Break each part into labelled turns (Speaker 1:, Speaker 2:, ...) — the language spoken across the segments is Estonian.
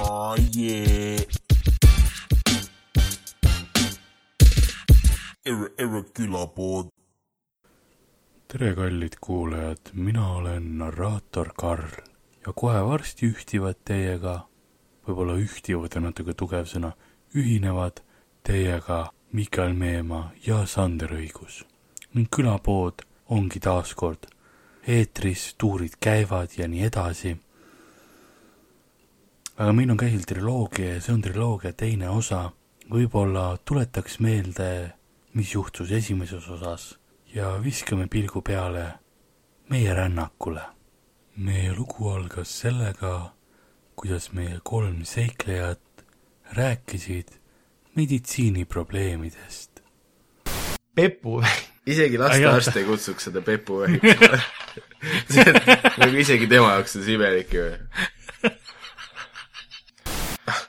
Speaker 1: Oh yeah. Erre, erre külapood.
Speaker 2: tere , kallid kuulajad , mina olen narraator Karl ja kohe varsti ühtivad teiega , võib-olla ühtivad on natuke tugev sõna , ühinevad teiega Mikael Meemaa ja Sander Õigus . ning külapood ongi taas kord eetris , tuurid käivad ja nii edasi . aga meil on käsil triloogia ja see on triloogia teine osa . võib-olla tuletaks meelde , mis juhtus esimeses osas ja viskame pilgu peale meie rännakule . meie lugu algas sellega , kuidas meie kolm seiklejat rääkisid meditsiiniprobleemidest .
Speaker 3: pepu .
Speaker 4: isegi
Speaker 2: lastearst
Speaker 4: lastearst ei kutsuks seda Pepu vähiks . nagu isegi tema jaoks on see imelik ju .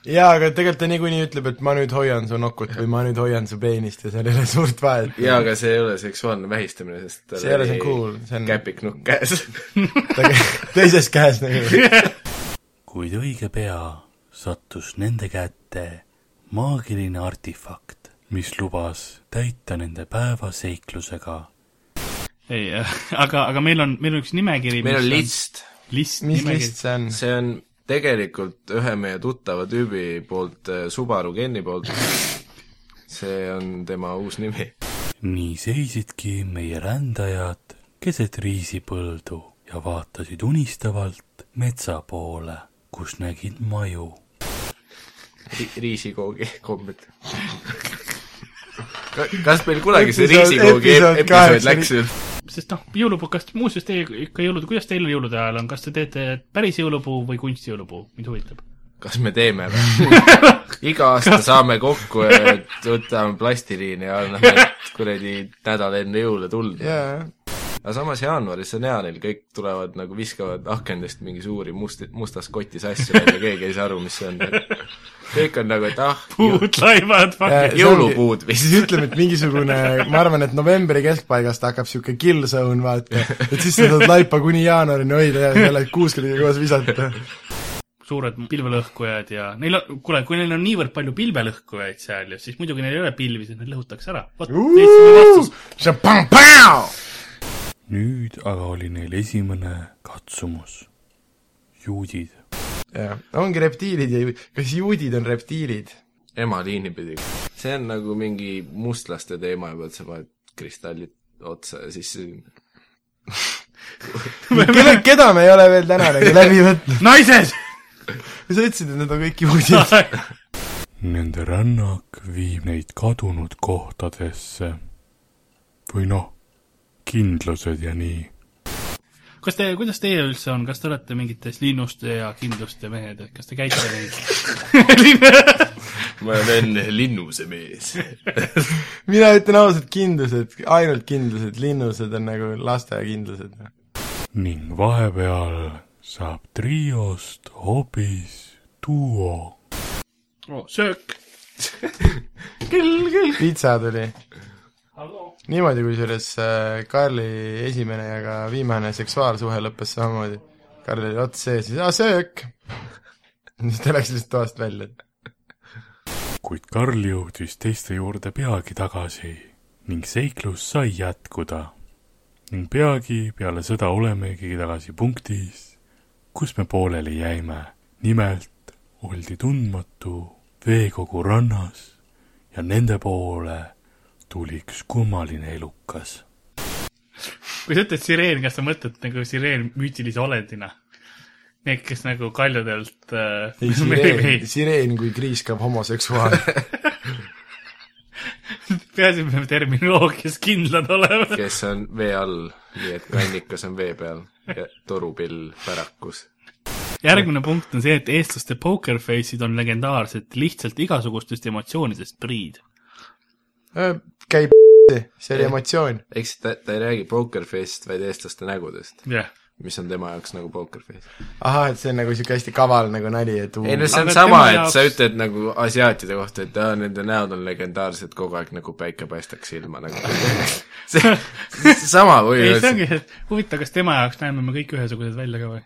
Speaker 3: jaa , aga tegelikult ta niikuinii ütleb , et ma nüüd hoian su nokut või ma nüüd hoian su peenist ja seal ei ole suurt vahet .
Speaker 4: jaa , aga see ei ole seksuaalne vähistamine , sest tal
Speaker 3: See ei ole,
Speaker 4: oli
Speaker 3: see on cool, see on-
Speaker 4: käpik nukk käes .
Speaker 3: teises käes nagu .
Speaker 2: kuid õige pea sattus nende kätte maagiline artefakt , mis lubas täita nende päeva seiklusega .
Speaker 5: ei , aga , aga meil on , meil on üks nimekiri .
Speaker 4: meil on . list ,
Speaker 5: list ,
Speaker 3: mis
Speaker 5: nimekiri
Speaker 3: list . see on ?
Speaker 4: see on tegelikult ühe meie tuttava tüübi poolt , Subaru Kenny poolt . see on tema uus nimi .
Speaker 2: nii seisidki meie rändajad keset riisipõldu ja vaatasid unistavalt metsa poole , kus nägid maju .
Speaker 4: riisikoogi kombed . kas meil kunagi see riisikoogi
Speaker 3: Episood- episood
Speaker 4: episood
Speaker 3: kaheksa-
Speaker 4: läks üldse ?
Speaker 5: sest noh , jõulupuu , kas muuseas teie ikka jõulude , kuidas teil jõulude ajal on , kas te teete päris jõulupuu või kunstijõulupuu , mind huvitab .
Speaker 4: kas me teeme või ? iga aasta saame kokku ja võtame plastiliini ja anname kuradi nädal enne jõule tuld .
Speaker 3: jaa ,
Speaker 4: aga samas jaanuaris on hea neil , kõik tulevad nagu viskavad akendest mingi suuri musti , mustas kotis asju välja , keegi ei saa aru , mis see on . kõik on nagu , et ah ,
Speaker 5: puud Äh, laevad ,
Speaker 3: Jaa.
Speaker 4: jõulupuud vist .
Speaker 3: ütleme , et mingisugune , ma arvan , et novembri keskpaigast hakkab niisugune kill zone , vaata . et siis sa saad laipa kuni jaanuarini hoida ja jälle kuuskümmend koos visata .
Speaker 5: suured pilvelõhkujad ja neil on , kuule , kui neil on niivõrd palju pilvelõhkujaid seal ju , siis muidugi neil ei ole pilvi , siis need lõhutakse ära . vot , lihtsalt vastus .
Speaker 2: nüüd aga oli neil esimene katsumus . juudid .
Speaker 3: jah , ongi reptiilid ja ju- kas juudid on reptiilid ?
Speaker 4: ema liini pidi . see on nagu mingi mustlaste teema juba , et sa paned kristallid otsa ja siis
Speaker 3: kelle , keda me ei ole veel täna nagu läbi võtnud ?
Speaker 5: naised !
Speaker 3: sa ütlesid , et need on kõik juudid .
Speaker 2: Nende rännak viib neid kadunud kohtadesse . või noh , kindlused ja nii .
Speaker 5: kas te , kuidas teie üldse on , kas te olete mingites linnuste ja kindluste mehed , et kas te käite neid ?
Speaker 4: ma olen linnuse mees .
Speaker 3: mina ütlen ausalt kindlused , ainult kindlused , linnused on nagu lasteaiakindlused .
Speaker 2: ning vahepeal saab triost hoopis duo
Speaker 5: Oh, söök .
Speaker 3: pitsa tuli . niimoodi kusjuures äh, Karli esimene ja ka viimane seksuaalsuhe lõppes samamoodi . Karl oli ots sees , siis aa söök . siis ta läks lihtsalt toast välja .
Speaker 2: kuid Karl jõudis teiste juurde peagi tagasi ning seiklus sai jätkuda . ning peagi peale seda olemegi tagasi punktis , kus me pooleli jäime . nimelt oldi tundmatu veekogu rannas ja nende poole tuli üks kummaline elukas .
Speaker 5: kui sa ütled sireen , kas sa mõtled nagu sireen müütilise olendina ? Need , kes nagu kaljudelt äh,
Speaker 3: ei , sireen , sireen kui kriiskav homoseksuaal .
Speaker 5: peaasi , et me terminoloogias kindlad oleme .
Speaker 4: kes on vee all , nii et kannikas on vee peal ja torupill pärakus .
Speaker 5: järgmine punkt on see , et eestlaste poker face'id on legendaarsed lihtsalt igasugustest emotsioonidest priid .
Speaker 3: Äh, käib , see oli emotsioon .
Speaker 4: eks ta , ta ei räägi pokerface'ist , vaid eestlaste nägudest ,
Speaker 5: jah .
Speaker 4: mis on tema jaoks nagu pokerface .
Speaker 3: ahah , et see on nagu niisugune hästi kaval nagu nali , et
Speaker 4: ei no
Speaker 3: uu-
Speaker 4: see on
Speaker 5: Aga
Speaker 4: sama ,
Speaker 5: tema
Speaker 4: et sa
Speaker 5: jaoks-
Speaker 4: ütled nagu asiaatide kohta , et aa , nende näod on legendaarsed , kogu aeg nagu päike paistaks silma nagu . see , sama
Speaker 5: ei , see
Speaker 4: põhimõtteliselt .
Speaker 5: ongi , et huvitav , kas tema jaoks näeme me kõik ühesugused välja ka või ?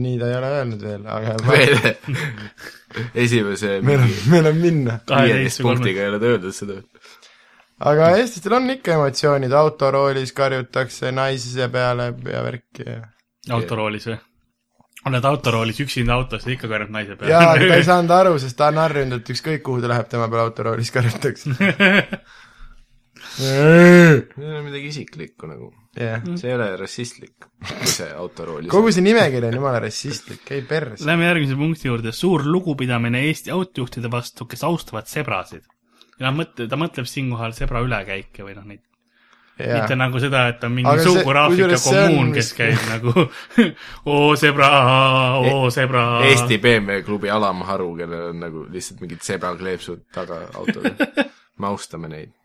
Speaker 3: nii ta ei ole öelnud veel , aga ma-
Speaker 4: veel esimese
Speaker 3: meil on
Speaker 4: mingi ,
Speaker 3: meil on minna .
Speaker 4: viieteist
Speaker 5: kaheteist või kolmteist .
Speaker 4: punktiga ei ole ta öelnud seda .
Speaker 3: aga eestlastel on ikka emotsioonid , autoroolis karjutakse naise peale ja värki ja
Speaker 5: autoroolis või ? oled autoroolis üksinda autos ja ikka karjub naise
Speaker 3: jaa , aga ta ei
Speaker 5: peale .
Speaker 3: saanud aru , sest ta on harjunud , et ükskõik kuhu ta läheb , tema peal autoroolis karjutakse . jah
Speaker 4: see ei ole midagi isiklikku nagu , see ei ole rassistlik , kui see autoroolis
Speaker 3: kogu see nimekiri on jumala rassistlik , ei perse .
Speaker 5: Lähme järgmise punkti juurde , suur lugupidamine Eesti autojuhtide vastu , kes austavad sebrasid . ja noh , mõtle , ta mõtleb siinkohal sebra ülekäike või noh , neid , mitte
Speaker 3: jaa ,
Speaker 5: nagu seda , et on mingi
Speaker 3: Aga see-
Speaker 5: suur Aafrika
Speaker 3: kusjuures see on
Speaker 5: kommuun , kes
Speaker 3: vist-
Speaker 5: käib nagu oo sebra , oo
Speaker 3: E-
Speaker 5: sebra .
Speaker 4: Eesti BMW klubi alamharu , kellel on nagu lihtsalt mingid sebakleepsud taga autol . me austame neid .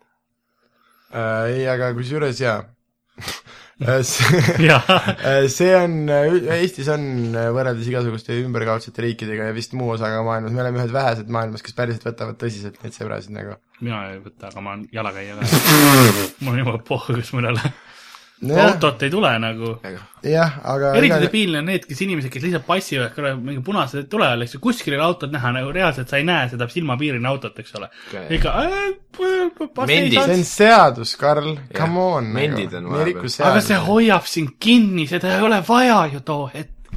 Speaker 3: Äh, ei , aga kusjuures jaa Äh,
Speaker 5: jah ,
Speaker 3: see on , Eestis on äh, võrreldes igasuguste ümberkaudsete riikidega ja vist muu osaga maailmas , me oleme ühed vähesed maailmas , kes päriselt võtavad tõsiselt neid sõbrasid nagu .
Speaker 5: mina ei võta , aga ma olen jalakäija ka . mul on juba pohhus mõnel .
Speaker 3: jah ,
Speaker 5: autot ei tule nagu .
Speaker 3: jah , aga
Speaker 5: eriti
Speaker 3: igal-
Speaker 5: debiilne on need , kes inimesed , kes lihtsalt passivad korra mingi punase tule all , eks ju , kuskil ei ole autot näha , nagu reaalselt sa ei näe seda silmapiirina autot , eks ole . ikka .
Speaker 4: Mendid.
Speaker 3: see on seadus , Karl , come on . nagu.
Speaker 4: mendid on
Speaker 3: me ei
Speaker 4: vahepeal.
Speaker 3: riku
Speaker 5: aga
Speaker 3: seadust
Speaker 5: see . hoiab sind kinni , seda ei ole vaja ju too hetk ,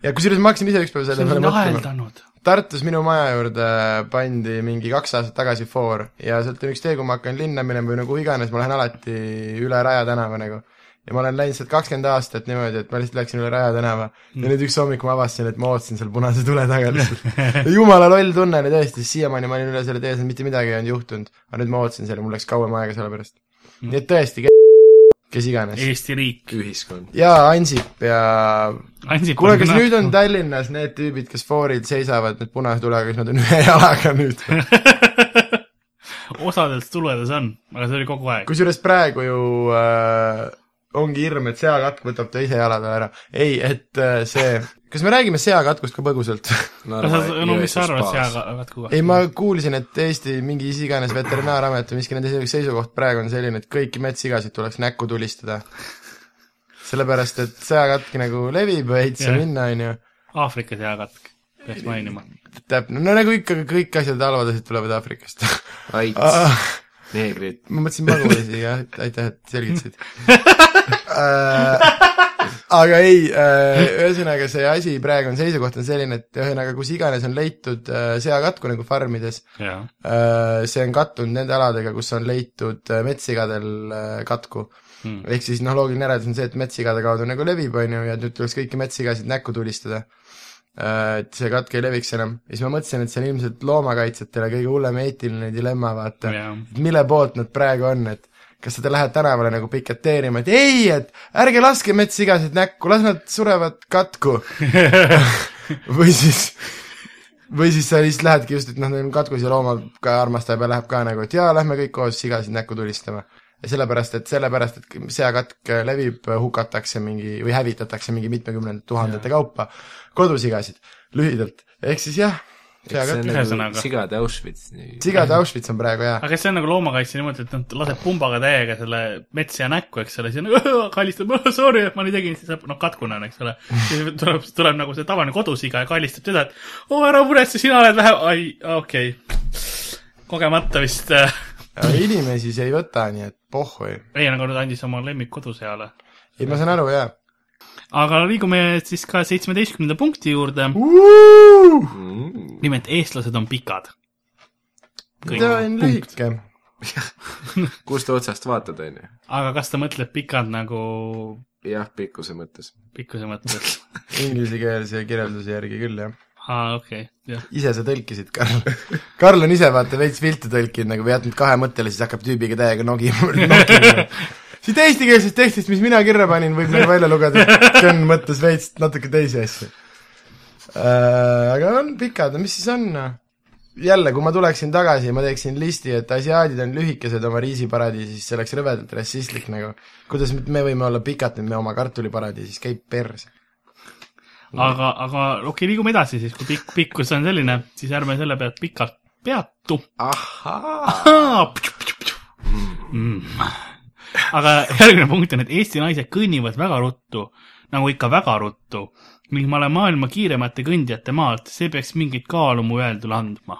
Speaker 3: ja kusjuures ma hakkasin ise ükspäev
Speaker 5: sa
Speaker 3: selle
Speaker 5: oled
Speaker 3: peale mõtlema .
Speaker 5: naeldanud .
Speaker 3: Tartus minu maja juurde pandi mingi kaks aastat tagasi foor ja sealt on üks tee , kui ma hakkan linna minema või no kuhu iganes , ma lähen alati üle Raja tänava nagu . ja ma olen läinud sealt kakskümmend aastat niimoodi , et ma lihtsalt läksin üle Raja tänava ja nüüd üks hommik ma avastasin , et ma ootasin seal punase tule taga lihtsalt . jumala loll tunne oli tõesti , siiamaani ma olin üle selle tee , seal mitte midagi ei olnud juhtunud , aga nüüd ma ootasin seal ja mul läks kauem aega selle pärast . nii et tõesti , kes iganes .
Speaker 5: Eesti riik .
Speaker 4: ühiskond .
Speaker 3: jaa , Ansip ja kuule , kas nüüd on Tallinnas need tüübid , kes fooril seisavad , need punase tulega , kas nad on ühe jalaga nüüd ?
Speaker 5: osades tuledes on , aga see oli kogu aeg .
Speaker 3: kusjuures praegu ju äh, ongi hirm , et seakatk võtab teise jala tal ära . ei , et äh, see , kas me räägime seakatkust ka põgusalt ?
Speaker 5: kas sa , no mis sa arvad , see ? aga .
Speaker 3: ei , ma kuulsin , et Eesti mingi mis iganes veterinaaramet või miski nende seisu- seisukoht praegu on selline , et kõiki metssigasid tuleks näkku tulistada . sellepärast , et seakatk nagu levib veits ja
Speaker 5: Jah.
Speaker 3: minna , on ju
Speaker 5: Aafrikas jääkatk , peaks mainima .
Speaker 3: täpne , no nagu ikka kõik asjad , halvad asjad tulevad Aafrikast Ah,
Speaker 4: aits , neegrid .
Speaker 3: ma mõtlesin pagulasi ja aitäh , et selgitasid äh, . aga ei äh, , ühesõnaga see asi praegu on , seisukoht on selline , et ühesõnaga kus iganes on leitud äh, seakatku nagu farmides
Speaker 5: jaa .
Speaker 3: äh, , see on kattunud nende aladega , kus on leitud äh, metssigadel äh, katku
Speaker 5: Hmm.
Speaker 3: hmm. . ehk siis noh , loogiline järeldus on see , et metssigade kaudu nagu levib , on ju , ja nüüd tuleks kõiki metssigasid näkku tulistada äh, et see katk ei leviks enam , siis ma mõtlesin , et see on ilmselt loomakaitsjatele kõige hullem eetiline dilemma , vaata
Speaker 5: Jaa.
Speaker 3: et mille poolt nad praegu on , et kas sa lähed tänavale nagu piketeerima , et ei , et ärge laske metssigasid näkku , las nad surevad katku . või siis , või siis sa lihtsalt lähedki just , et noh , neil on katkus ja looma ka armastab ja läheb ka nagu , et jaa , lähme kõik koos sigasid näkku tulistama . ja sellepärast , et sellepärast , et seakatk levib , hukatakse mingi või hävitatakse mingi mitmekümnendate tuhandete kaupa kodusigasid , lühidalt , ehk siis jah , seakatk ,
Speaker 5: Ühesõnaga.
Speaker 4: sigade nagu Auschwitz . see
Speaker 3: sigade Auschwitz on praegu jaa .
Speaker 5: aga kas see on nagu loomakaitse niimoodi , et nad laseb pumbaga täiega selle metsi ja näkku , eks ole , siis on kallistab , sorry , et ma nii tegin , siis saab , noh , katkune on , eks ole . siis tuleb , tuleb nagu see tavaline kodusiga ja kallistab teda , et oo , ära muretse , sina oled vähe , ai , okei okay. . kogemata vist äh, ,
Speaker 3: aga inimesi see ei võta , nii et pohhui .
Speaker 5: Reian kord nagu andis oma lemmik kodusõjale .
Speaker 3: ei , ma saan aru , jaa .
Speaker 5: aga liigume siis ka seitsmeteistkümnenda punkti juurde , nimelt eestlased on pikad .
Speaker 3: ta on lühike .
Speaker 4: kust otsast vaatad , onju ?
Speaker 5: aga kas ta mõtleb pikad nagu
Speaker 4: jah , pikkuse mõttes .
Speaker 5: pikkuse mõttes ?
Speaker 3: Inglisekeelse kirjelduse järgi küll , jah .
Speaker 5: aa , okei , jah .
Speaker 3: ise sa tõlkisid , Karl . Karl on ise vaata veits viltu tõlkinud nagu või jätnud kahe mõttele , siis hakkab tüübiga täiega nogima , nokima . siit eestikeelsest tekstist , mis mina kirja panin , võib nagu välja lugeda , et Ken mõtles veits natuke teisi asju . aga on pikad , no mis siis on , noh ? jälle , kui ma tuleksin tagasi ja ma teeksin listi , et asiaadid on lühikesed oma riisiparadiisis , see oleks rõvedalt rassistlik nagu . kuidas me võime olla pikad , et me oma kartuliparadiisis , käib pers .
Speaker 5: aga , aga okei okay, , liigume edasi siis , kui pikk , pikkus on selline , siis ärme selle pealt pikalt peatu .
Speaker 4: ahhaa .
Speaker 5: Mm. aga järgmine punkt on , et Eesti naised kõnnivad väga ruttu . nagu ikka väga ruttu ning ma olen maailma kiiremate kõndjate maalt , see peaks mingit kaalu mu öeldule andma .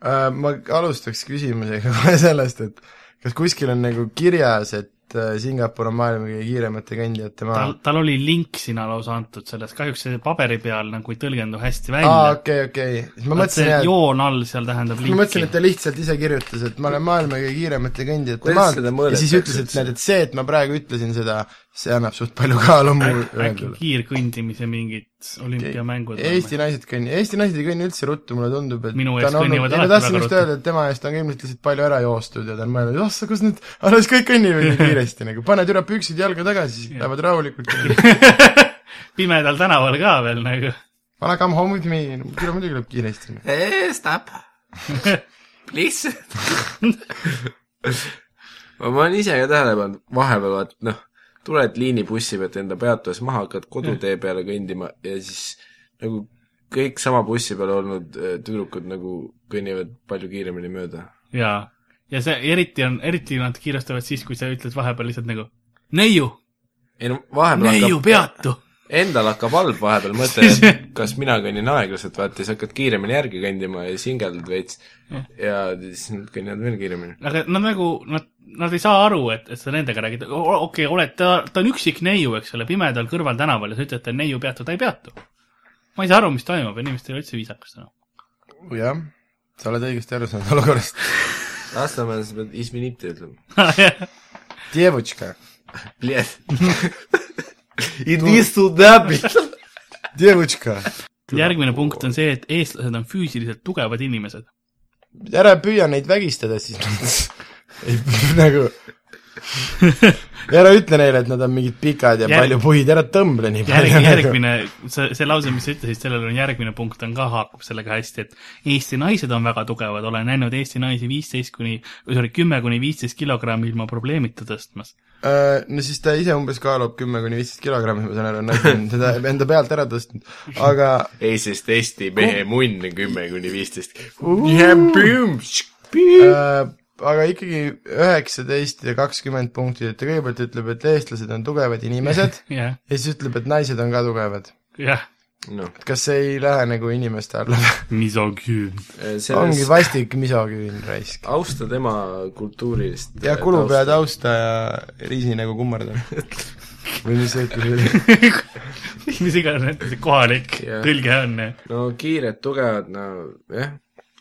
Speaker 3: Äh, ma alustaks küsimusega kohe sellest , et kas kuskil on nagu kirjas , et äh, Singapur on maailma kõige kiiremate kõndijate maa
Speaker 5: tal ?, tal oli link sinna lausa antud sellest , kahjuks see paberi peal nagu ei tõlgendu hästi
Speaker 3: aa ,
Speaker 5: välja .
Speaker 3: okei , okei , siis ma
Speaker 5: see
Speaker 3: mõtlesin , et
Speaker 5: joon all seal tähendab
Speaker 3: ma mõtlesin ,
Speaker 5: linki
Speaker 3: et . ta lihtsalt ise kirjutas , et ma olen maailma kõige kiiremate kõndijate
Speaker 4: Kuidas
Speaker 3: maalt
Speaker 4: seda
Speaker 3: ja siis
Speaker 4: mõõdetakse
Speaker 3: ütles , et
Speaker 4: üldse?
Speaker 3: näed , et see , et ma praegu ütlesin seda , see annab suht palju kaalu mu
Speaker 5: äkki
Speaker 3: öeldule .
Speaker 5: kiirkõndimise mingid olümpiamängud .
Speaker 3: Eesti naised kõnni- , Eesti naised ei kõnni üldse ruttu , mulle tundub , et
Speaker 5: Minu
Speaker 3: ta
Speaker 5: eest
Speaker 3: on olnud- ei,
Speaker 5: kõnnivad
Speaker 3: ma
Speaker 5: alati
Speaker 3: tahtsin
Speaker 5: väga
Speaker 3: just
Speaker 5: ruttu.
Speaker 3: öelda , et tema eest on ilmselt lihtsalt palju ära joostud ja ta on mõelnud , oh sa , kus need , alles kõik kõnnivad nii kiiresti nagu , paned üle püksid jalga tagasi , siis lähevad rahulikult .
Speaker 5: pimedal tänaval ka veel nagu .
Speaker 3: Wanna come home with me , küll muidugi läheb kiiresti . noh.
Speaker 4: Stop . Please . ma ma olen ise ka tähele pannud , vahepeal vaat noh , tuled liinibussi pealt enda peatuses maha , hakkad kodutee peale kõndima ja siis nagu kõik sama bussi peal olnud äh, tüdrukud nagu kõnnivad palju kiiremini mööda .
Speaker 5: jaa . ja see eriti on , eriti nad kiirustavad siis , kui sa ütled vahepeal lihtsalt nagu neiu ,
Speaker 4: ei no vahepeal
Speaker 5: neiu ,
Speaker 4: hakkab ,
Speaker 5: peatu .
Speaker 4: endal hakkab halb vahepeal mõte , et kas mina kõnnin aeglaselt , vaata siis hakkad kiiremini järgi kõndima ja singeldad veits ja siis nad kõnnivad veel kiiremini .
Speaker 5: aga nad nagu , nad , nad ei saa aru , et , et sa nendega räägid , okei , oled , ta , ta on üksik neiu , eks ole , pimedal kõrvaltänaval ja sa ütled , et ta on neiu , peatu , ta ei peatu . ma ei saa aru , mis toimub , inimestel ei ole üldse noh. viisakust enam .
Speaker 3: jah , sa oled õigesti aru saanud olukorrast .
Speaker 4: Lasnamäel sa pead Izminiti ütlema .
Speaker 3: Девочка ,
Speaker 4: Блять. Иди сюда, блять.
Speaker 3: девочка ,
Speaker 5: järgmine punkt on see , et eestlased on füüsiliselt tugevad inimesed .
Speaker 3: ära püüa neid vägistada , siis nad ei nagu ja ära ütle neile , et nad on mingid pikad ja
Speaker 5: Järg-
Speaker 3: palju puid , ära tõmble nii
Speaker 5: järg,
Speaker 3: palju .
Speaker 5: järgmine , see , see lause , mis sa ütlesid , sellel on järgmine punkt on ka , haakub sellega hästi , et Eesti naised on väga tugevad , olen näinud Eesti naisi viisteist kuni , sorry , kümme kuni viisteist kilogrammi ilma probleemita tõstmas .
Speaker 3: Äh, no siis ta ise umbes kaalub kümme kuni viisteist kilogrammi , ma saan aru , nad on teda enda pealt ära tõstnud , aga
Speaker 4: ei , sest Eesti mehe munn on kümme kuni viisteist . ja
Speaker 3: äh, aga ikkagi üheksateist ja kakskümmend punkti , et ta kõigepealt ütleb , et eestlased on tugevad inimesed
Speaker 5: jah ,
Speaker 3: ja siis ütleb , et naised on ka tugevad .
Speaker 5: jah ,
Speaker 4: Noh,
Speaker 3: et kas see ei lähe nagu inimeste alla või ?
Speaker 5: misogüün .
Speaker 3: ongi
Speaker 4: selles ,
Speaker 3: vastik misoküün raisk .
Speaker 4: austa tema kultuurilist .
Speaker 3: ja kulupea . tausta ja riisinägu kummardab . või mis see ütlus oli ?
Speaker 5: mis iganes nende see kohalik
Speaker 4: Jah.
Speaker 5: tõlge on ,
Speaker 4: no kiired , tugevad , no jah .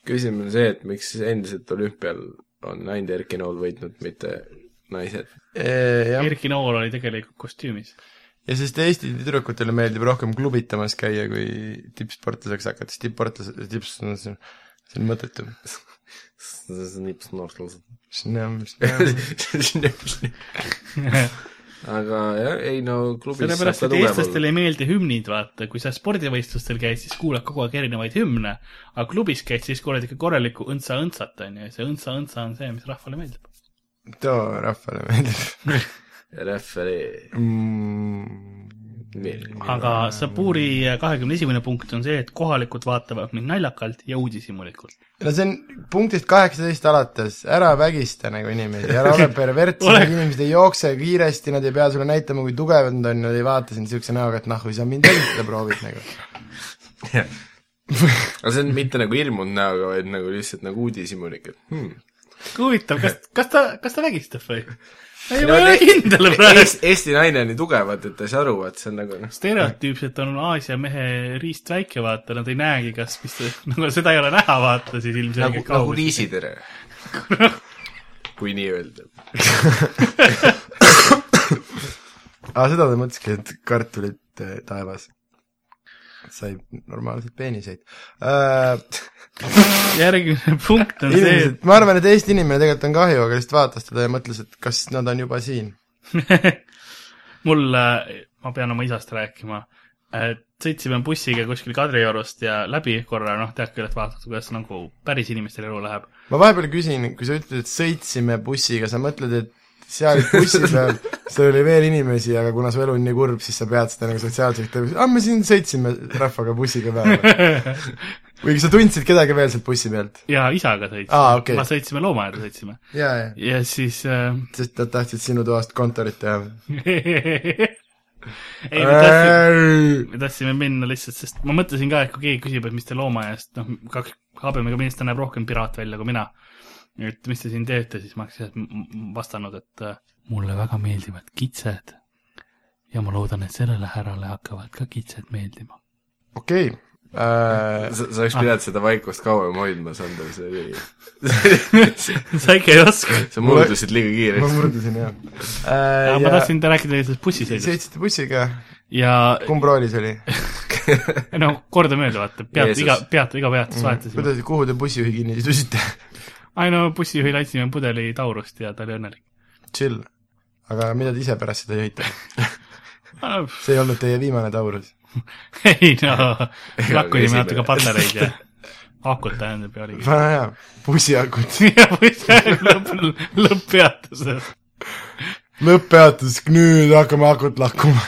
Speaker 4: küsimus on see , et miks endiselt olümpial on ainult Erki Nool võitnud , mitte naised .
Speaker 3: jah ,
Speaker 5: Erki Nool oli tegelikult kostüümis .
Speaker 3: ja sest Eesti tüdrukutele meeldib rohkem klubitamas käia , kui tippsportlaseks hakata , siis tippsportlased , tipp , see on see on mõttetu .
Speaker 4: aga jah , ei no klubis
Speaker 5: sellepärast , et eestlastele ei meeldi hümnid , vaata , kui sa spordivõistlustel käid , siis kuulad kogu aeg erinevaid hümne , aga klubis käid , siis kuuled ikka korralikku õntsa-õntsat , on ju , ja see õntsa-õntsa on see , mis rahvale meeldib .
Speaker 3: too rahvale meeldib
Speaker 4: referi
Speaker 3: mm, .
Speaker 5: aga Saburi kahekümne esimene punkt on see , et kohalikud vaatavad mind naljakalt ja uudishimulikult .
Speaker 3: no see on punktist kaheksateist alates , ära vägista nagu inimesi , ära ole pervert ,
Speaker 5: Ole-
Speaker 3: inimesed ei jookse kiiresti , nad ei pea sulle näitama , kui tugevad nad on , nad ei vaata sind niisuguse näoga , et nahhu sa mind õlitada proovid nagu .
Speaker 4: aga see on mitte nagu hirmunud näoga , vaid nagu lihtsalt nagu uudishimulik , et hmm.
Speaker 5: huvitav , kas , kas ta , kas ta vägistab või ? ei ,
Speaker 4: No
Speaker 5: ma ei ole
Speaker 4: te-
Speaker 5: kindel praegu .
Speaker 4: Eest, Eesti naine on nii tugev , et ta ei saa aru , et see on nagu noh ,
Speaker 5: stereotüüpselt on Aasia mehe riist väike , vaata , nad ei näegi , kas , mis ta , nagu seda ei ole näha , vaata siis
Speaker 4: nagu ,
Speaker 5: ilmselgelt
Speaker 4: nagu . riisitere . kui nii öelda .
Speaker 3: aa , seda ta mõtleski , et kartulit äh, taevas . sai normaalseid peeniseid äh, .
Speaker 5: järgmine punkt on see ,
Speaker 3: inimesed , ma arvan , et Eesti inimene tegelikult on kahju , aga lihtsalt vaatas teda ja mõtles , et kas nad on juba siin .
Speaker 5: mul , ma pean oma isast rääkima . sõitsime bussiga kuskil Kadriorust ja läbi korra , noh , tead küll , et vaatad , kuidas nagu päris inimestel elu läheb .
Speaker 3: ma vahepeal küsin , kui sa ütled , et sõitsime bussiga , sa mõtled , et seal bussi peal seal oli veel inimesi , aga kuna su elu on nii kurb , siis sa pead seda nagu sotsiaalselt tõmbama , aa me siin sõitsime rahvaga bussiga päeva . või kas sa tundsid kedagi veel sealt bussi pealt ?
Speaker 5: ja isaga sõitsime
Speaker 3: Aa, Ah, okei.
Speaker 5: ma sõitsime Loomaaeda sõitsime
Speaker 3: jaa , jaa ,
Speaker 5: ja siis äh,
Speaker 3: sest nad tahtsid sinu toast kontorit teha .
Speaker 5: ei , me tahtsime , me tahtsime minna lihtsalt , sest ma mõtlesin ka , et kui keegi küsib , et mis te loomaaiast , noh , kaks habemega meest , ta näeb rohkem piraat välja kui mina . et mis te siin teete , siis ma oleks lihtsalt m- m- vastanud , et äh, mulle väga meeldivad kitsed . ja ma loodan , et sellele härrale hakkavad ka kitsed meeldima .
Speaker 3: okei , Äh,
Speaker 4: sa , sa oleks pidanud seda vaikust kauem hoidma , Sander , see oli ,
Speaker 5: sa ikka ei oska .
Speaker 4: sa murdusid liiga
Speaker 3: ma
Speaker 4: kiiresti .
Speaker 3: murdusin jah .
Speaker 5: ma tahtsin te rääkida sellest bussiseisust
Speaker 3: sõitsite bussiga ,
Speaker 5: ja
Speaker 3: kumb roolis oli ?
Speaker 5: no kordamööda vaata , pead
Speaker 4: Jeesus.
Speaker 5: iga , pead iga peatus vahetasime .
Speaker 3: kuidas , kuhu te bussijuhi kinni siis tõstsite ?
Speaker 5: ai no bussijuhile andsime pudeli taurust ja ta oli õnnelik .
Speaker 3: chill . aga mida te ise pärast seda jõite ? see ei olnud teie viimane taurus .
Speaker 5: Ah, ei no , lakkusime
Speaker 4: esimene.
Speaker 5: natuke patareid ja akut tähendab ja oligi .
Speaker 3: väga hea , bussiakud .
Speaker 5: ja bussijuhi lõpp , lõpppeatuses .
Speaker 3: lõpppeatus , nüüd hakkame akut lakkuma .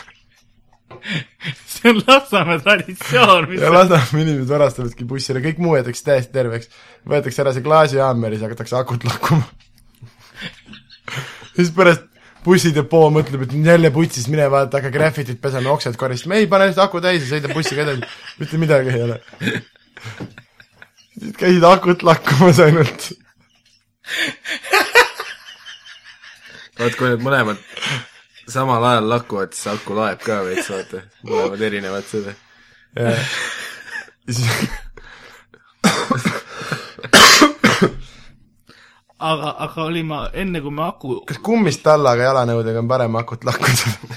Speaker 5: see on Lasnamäe traditsioon , mis
Speaker 3: ja Lasnamäe inimesed varastavadki bussile , kõik muu jäetakse täiesti terveks . võetakse ära see klaasihaammer ja siis hakatakse akut lakkuma . siis pärast bussidepoo mõtleb , et jälle putsis , mine vaata , hakka graffitit pesema , oksad koristama , ei pane lihtsalt aku täis ja sõida bussiga edasi , mitte midagi ei ole . siis käisid akut lakkumas ainult .
Speaker 4: vaat kui need mõlemad samal ajal lakuvad , siis aku laeb ka veits , vaata . mõlemad erinevad seda .
Speaker 3: ja siis
Speaker 5: aga , aga oli ma , enne kui ma aku ,
Speaker 3: kas kummist tallaga jalanõudega on parem akut lakkuda ?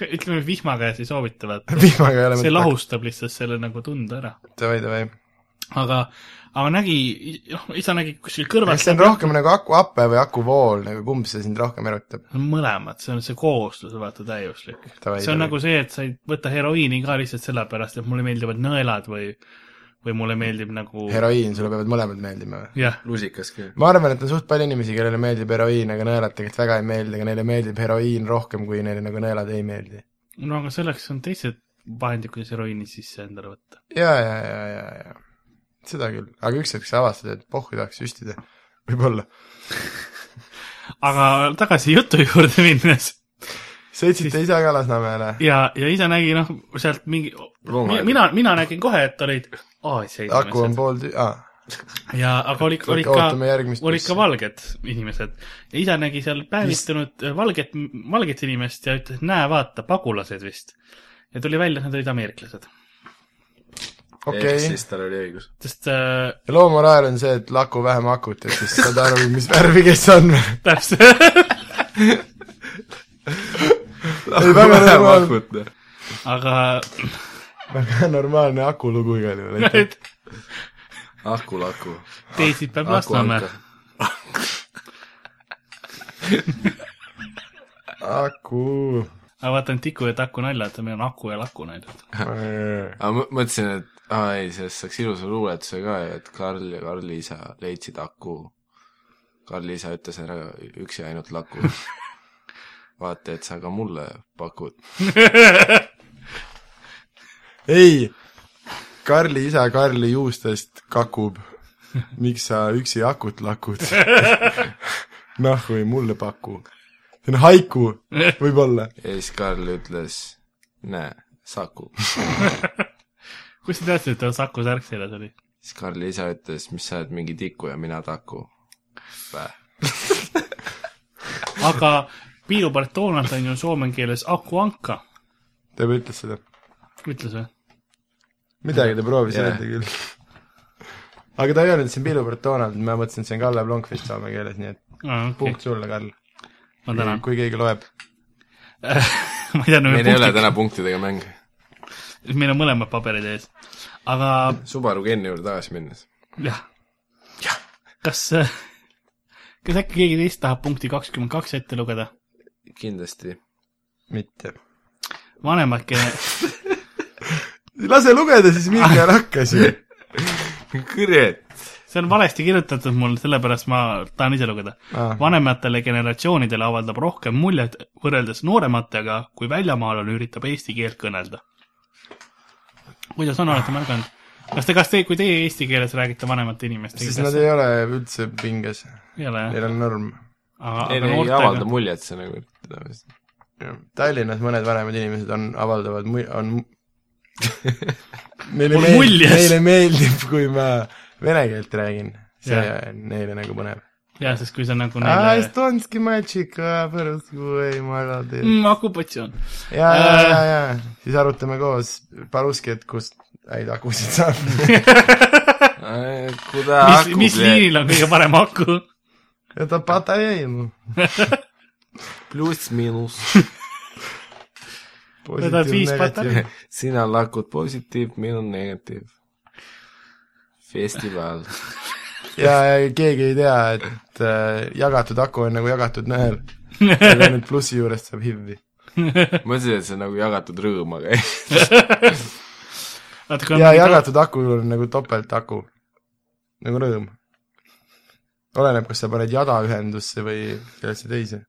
Speaker 5: ütleme vihma käes ei soovita , vaata .
Speaker 3: vihmaga ei ole
Speaker 5: see . lahustab lihtsalt selle nagu tunde ära .
Speaker 3: davai , davai .
Speaker 5: aga , aga nägi , noh , isa nägi kuskil kõrval
Speaker 3: kas see on rohkem nagu akuhappe või akuvool , nagu kumb see sind rohkem erutab ?
Speaker 5: mõlemad , see on see kooslus , vaata , täiuslik .
Speaker 3: Davai,
Speaker 5: see on
Speaker 3: davai.
Speaker 5: nagu see , et sa ei võta heroiini ka lihtsalt sellepärast , et mulle meeldivad nõelad või , või mulle meeldib nagu
Speaker 3: heroiin , sulle peavad mõlemad meeldima või ?
Speaker 5: jah ,
Speaker 4: lusikas ka .
Speaker 3: ma arvan , et on suht palju inimesi , kellele meeldib heroiin , aga nõelad tegelikult väga ei meeldi , aga neile meeldib heroiin rohkem , kui neile nagu nõelad ei meeldi .
Speaker 5: no aga selleks on teised vahendid , kuidas heroiini sisse endale võtta .
Speaker 3: ja , ja , ja , ja , ja seda küll , aga üks hetk sa avastad , et pohhu tahaks süstida , võib-olla .
Speaker 5: aga tagasi jutu juurde minnes
Speaker 3: sõitsite ise ka Lasnamäele ?
Speaker 5: ja , ja isa nägi noh , sealt mingi ,
Speaker 4: Loomaaias.
Speaker 5: mina , mina nägin kohe , et olid Aasia
Speaker 3: aku on
Speaker 5: inimesed
Speaker 3: pool tü- , aa ,
Speaker 5: ja , aga olid , olid
Speaker 3: ootame
Speaker 5: ka ,
Speaker 3: järgmist
Speaker 5: olid ka . valged inimesed . ja isa nägi seal päevitunud valget , valget inimest ja ütles , näe , vaata , pagulased vist . ja tuli välja , et nad olid ameeriklased ,
Speaker 3: okei
Speaker 4: siis tal oli õigus .
Speaker 5: sest äh,
Speaker 3: ja loo moraal on see , et laku vähem akut , et siis saad aru , mis värvi kes on .
Speaker 5: täpselt
Speaker 3: ei , väga normaalne ,
Speaker 4: noh.
Speaker 5: aga
Speaker 3: väga normaalne akulugu igal juhul .
Speaker 5: nüüd
Speaker 4: aku , laku .
Speaker 5: teisipäev
Speaker 4: aku ,
Speaker 5: Lasnamäe
Speaker 4: aku .
Speaker 3: aku .
Speaker 5: aga vaata need Tiku ja Taku naljad , meil on Aku ja Laku naljad .
Speaker 3: eh,
Speaker 4: aga ma mõtlesin , et aa ei , sellest saaks ilusa luuletuse ka , et Karl ja Karli isa leidsid aku . Karli isa ütles ära üks ja ainult laku . vaata , et sa ka mulle pakud .
Speaker 3: ei , Karli isa Karli juustest kakub . miks sa üksi akut lakud ? nahku ei mulle paku . see on haiku , võib-olla .
Speaker 4: ja siis Karl ütles , näe , saku .
Speaker 5: kust te teadsite , et ta Saku särk seljas oli ?
Speaker 4: siis Karli isa ütles , mis sa oled mingi tiku ja mina taku .
Speaker 5: aga piirupart Donald on ju soome keeles Aku Anka ,
Speaker 3: ta juba ütles seda .
Speaker 5: ütles või ?
Speaker 3: midagi ta proovis
Speaker 4: Jah.
Speaker 3: öelda küll . aga ta ei öelnud , et see on Pihlupõrd Donald , ma mõtlesin , et see on Kalle Blomqvist soome keeles , nii et
Speaker 5: okei ,
Speaker 3: punkt sulle , Karl .
Speaker 5: ma tänan .
Speaker 3: kui keegi loeb .
Speaker 5: ma ei teadnud ,
Speaker 4: meil ei ole
Speaker 5: meil,
Speaker 4: täna punktidega mäng .
Speaker 5: meil on mõlemad paberid ees . aga
Speaker 4: Subaru Geni juurde tagasi minnes .
Speaker 5: jah , kas , kas äkki keegi teist tahab punkti kakskümmend kaks ette lugeda ?
Speaker 4: kindlasti .
Speaker 3: mitte .
Speaker 5: vanemakene ,
Speaker 3: lase lugeda siis Mihkel hakkas ju .
Speaker 4: Kõret .
Speaker 5: see on valesti kirjutatud mul , sellepärast ma tahan ise lugeda .
Speaker 3: Ah.
Speaker 5: vanematele generatsioonidele avaldab rohkem muljet võrreldes noorematega , kui väljamaalane üritab eesti keelt kõnelda . kuidas on , olete märganud ? kas te , kas te , kui teie eesti keeles räägite vanemate inimestega ,
Speaker 3: siis
Speaker 5: kas
Speaker 3: nad ei ole üldse pinges ,
Speaker 5: ei ole jah ?
Speaker 3: neil on norm .
Speaker 5: aga ,
Speaker 4: ei ,
Speaker 5: aga
Speaker 4: ei avalda
Speaker 5: noortega ,
Speaker 4: muljet , see nagu .
Speaker 3: Tallinnas mõned vanemad inimesed on , avaldavad , on neile,
Speaker 5: On
Speaker 3: meeldib,
Speaker 5: muljes.
Speaker 3: neile meeldib , kui ma vene keelt räägin . see
Speaker 5: Jah.
Speaker 3: on neile nagu põnev . Ah,
Speaker 5: ja siis , kui sa nagu neile
Speaker 3: Estonski matšik , põruskuõi , magadi .
Speaker 5: mm, Äh. okupatsioon .
Speaker 3: ja , ja , ja , ja siis arutame koos paruskit , kust häid akusid saab .
Speaker 5: mis , mis ? liinil on kõige parem aku ?
Speaker 3: ja ta patajeinu .
Speaker 4: pluss-miinus .
Speaker 5: Võtad viis pataljoni. .
Speaker 4: sina lakud positiiv , minu negatiiv . festival .
Speaker 3: ja keegi ei tea , et äh, jagatud aku on nagu jagatud nõel . aga nüüd plussi juurest saab HIV-i .
Speaker 4: mõtlesin , et see on nagu jagatud rõõm , aga ei .
Speaker 3: ja jagatud aku on nagu topeltaku . nagu rõõm . oleneb , kas sa paned jada ühendusse või kellesse teise .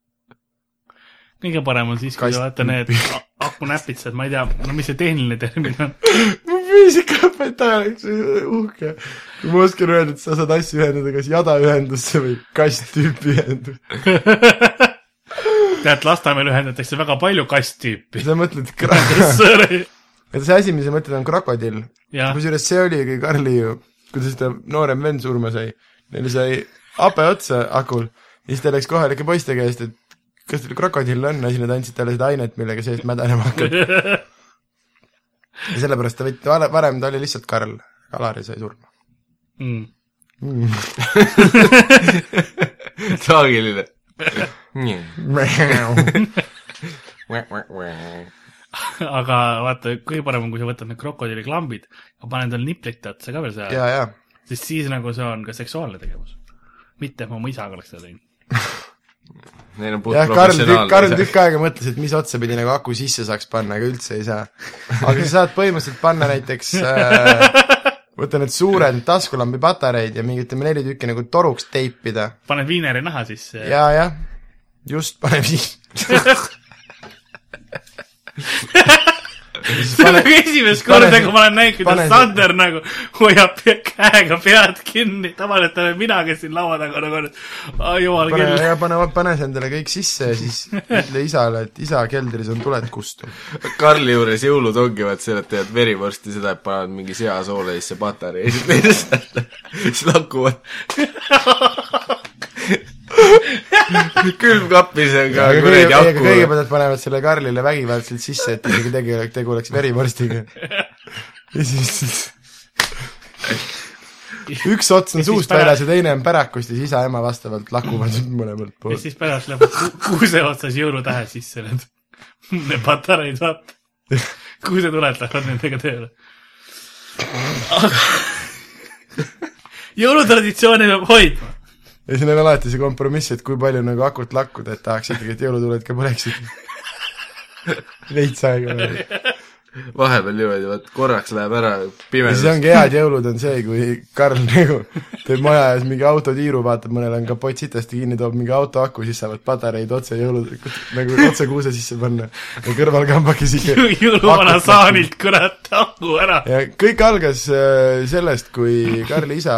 Speaker 5: kõige parem on siis , kui
Speaker 3: Kast-
Speaker 5: sa vaata need a- akunäpitsad , ma ei tea , no mis see tehniline termin on .
Speaker 3: mu füüsikaõpetaja oleks uhke , kui ma oskan öelda , et sa saad asju ühendada kas jada ühendusse või kast-tüüpi ühendusse .
Speaker 5: tead , Lasnamäel ühendatakse väga palju kasttüüpi .
Speaker 3: sa mõtled kra- , see asi , mis sa mõtled , on krokodill .
Speaker 5: jah ,
Speaker 3: kusjuures see oli , kui Karli ju , kuidas ta noorem vend surma sai , neil sai habe otsa akul ja siis ta läks kohalike poiste käest , et kas teil krokodill on ja siis nad andsid talle seda ainet , millega seest mädanema hakkab . ja sellepärast ta võttis , varem ta oli lihtsalt Karl , Alari sai surma .
Speaker 5: mm.
Speaker 4: traagiline .
Speaker 5: aga vaata , kõige parem on , kui sa võtad need krokodilliklambid ja paned tal niplite otsa ka veel seal ,
Speaker 3: ja , ja ,
Speaker 5: sest siis nagu see on ka seksuaalne tegevus . mitte , et ma oma isaga oleks seda teinud .
Speaker 4: Neil on
Speaker 3: jah , Karl tükk , Karl
Speaker 4: puhtprofessionaalne .
Speaker 3: tükk aega mõtles , et mis otsa pidi nagu aku sisse saaks panna , aga üldse ei saa . aga sa saad põhimõtteliselt panna näiteks äh, võtta need suured taskulambipatareid ja mingi ütleme neli tükki nagu toruks teipida
Speaker 5: paned viineri naha sisse ja,
Speaker 3: ja , jah , just , pane viis .
Speaker 5: see on nagu esimest korda ,
Speaker 3: pane-
Speaker 5: kui ma olen näinud ,
Speaker 3: pane
Speaker 5: kuidas
Speaker 3: see-
Speaker 5: Sander nagu hoiab pe- käega pead kinni , tavaliselt olen mina , kes siin laua taga nagu on , et aa jumal
Speaker 3: pane ,
Speaker 5: küll .
Speaker 3: ja pane , pane see endale kõik sisse ja siis ütle isale , et isa keldris on tuled kustunud .
Speaker 4: Karli juures jõulud ongi vaat see , et teevad verivorsti seda , et panevad mingi seasoole sisse patarei ja siis teed seda , siis lakuvad . külmkapisega kuradi aku .
Speaker 3: kõigepealt nad panevad selle Karlile vägivaldselt sisse , et isegi tegu , tegu oleks verivorstiga . ja siis üks ots on
Speaker 5: Ja siis
Speaker 3: suust
Speaker 5: pärast-
Speaker 3: väljas ja teine on pärakust ja siis isa ja ema vastavalt lakuvad mõlemalt
Speaker 5: ja
Speaker 3: poolt .
Speaker 5: siis pärast läheb ku- kuuse otsas jõulutähe sisse need , need patareid vaata . kuusetuled lähevad nendega tööle . aga jõulutraditsiooni peab hoidma .
Speaker 3: ja siin on alati see kompromiss , et kui palju nagu akut lakkuda , et tahaks ikkagi , et jõulutuled ka põleksid . veits aega veel .
Speaker 4: vahepeal niimoodi , vaat korraks läheb ära
Speaker 3: ja siis
Speaker 4: pimedus .
Speaker 3: ongi head jõulud on see , kui Karl nagu teeb maja ees mingi autotiiru , vaatab , mõnel on kapott sitasti kinni , toob mingi auto aku , siis saavad patareid otse jõulu , nagu otse kuuse sisse panna ja kõrval kambakesi .
Speaker 5: jõuluvana saanilt kurat tammu ära .
Speaker 3: ja kõik algas äh, sellest , kui Karli isa